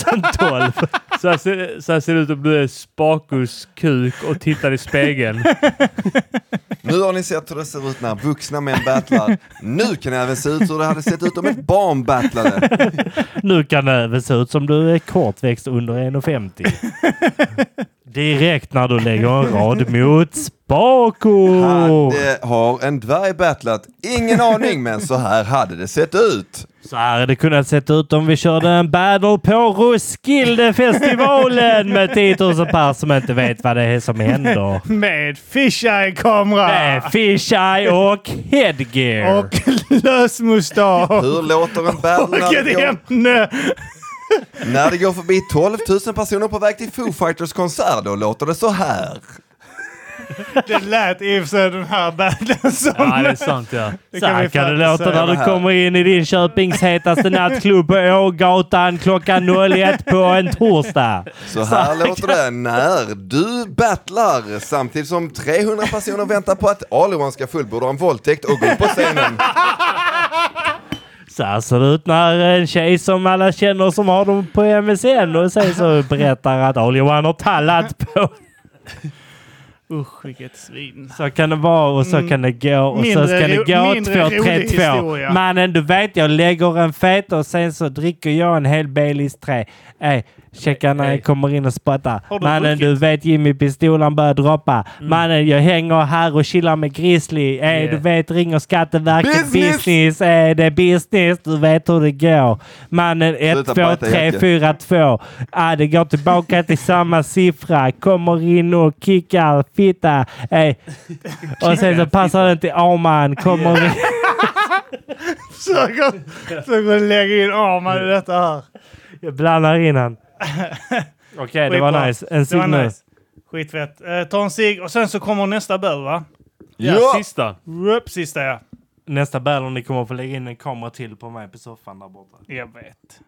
S3: Så här, ser, så här ser det ut om du är Spakus kuk och tittar i spegeln.
S4: Nu har ni sett hur det ser ut när vuxna män battlar. Nu kan det även se ut hur det hade sett ut om ett barn battlade.
S1: Nu kan det även se ut som du är kortväxt under
S5: [LAUGHS]
S1: 1,50. Direkt när du lägger en rad mot Spaco!
S4: Hade, har en dvärg battlat? Ingen aning, men så här hade det sett ut.
S1: Så här hade det kunnat sett ut om vi körde en battle på Roskildefestivalen med 10 000 pers som inte vet vad det är som händer.
S5: Med fisheye-kamera.
S1: Med fisheye och headgear.
S5: Och [LAUGHS] lös mustasch.
S4: Hur låter en battle
S5: Och
S4: när det,
S5: ett
S4: går,
S5: ämne.
S4: när det går förbi 12 000 personer på väg till Foo Fighters konsert? Då låter det så här.
S5: Det lät i och för sig den här battlen som...
S3: Ja, det är sant ja.
S5: det
S1: Så
S5: kan
S1: här
S5: vi
S1: kan det
S5: fan
S1: låta
S5: säga.
S1: när du kommer in i din Köpings hetaste nattklubb på Ågatan klockan 01 på en torsdag.
S4: Så här låter det när du battlar samtidigt som 300 personer väntar på att Aliwan ska fullborda en våldtäkt och gå upp på scenen.
S1: Så här ser det ut när en tjej som alla känner som har dem på MSN och sen så berättar att All-Johan har tallat på.
S5: Usch, vilket svin.
S1: Så kan det vara och så kan det gå och så
S5: Mm. Mindre
S1: ska det
S5: ro- mindre rolig
S1: gå 2-3-2.
S5: historia.
S1: Mannen, du vet jag lägger en fet och sen så dricker jag en hel Baileys 3. Ey, checka när jag kommer in och spottar.
S5: Har du
S1: Mannen,
S5: druckit? Mm.
S1: du vet Jimmy, pistolen börjar droppa. Mannen, jag hänger här och chillar med Grizzly. Ey,
S3: Yeah.
S1: du vet ringer Skatteverket
S4: Business!
S1: business. Ey, det är business. Du vet hur det går. Mannen, ett
S4: Sluta
S1: två
S4: bajta,
S1: tre
S4: Jacke.
S1: fyra två Ah, det går tillbaka till samma siffra. Kommer in och kickar fitta. Ey,
S5: [LAUGHS]
S1: och sen så passar den till Arman. Kommer in.
S5: Försöker försöker lägga in armarna i detta här.
S1: Jag blandar
S5: [LAUGHS]
S1: in [LAUGHS] han. Okej, det var
S5: Skitbra.
S1: nice.
S5: Det
S1: En
S5: var
S1: signal.
S5: nice. Skitfett. Eh, ta en cigg och sen så kommer nästa böl va?
S3: ja. Sista.
S5: Rup, sista ja.
S1: Nästa battle, ni kommer att få lägga in en kamera till på mig på soffan där borta.
S5: Jag vet.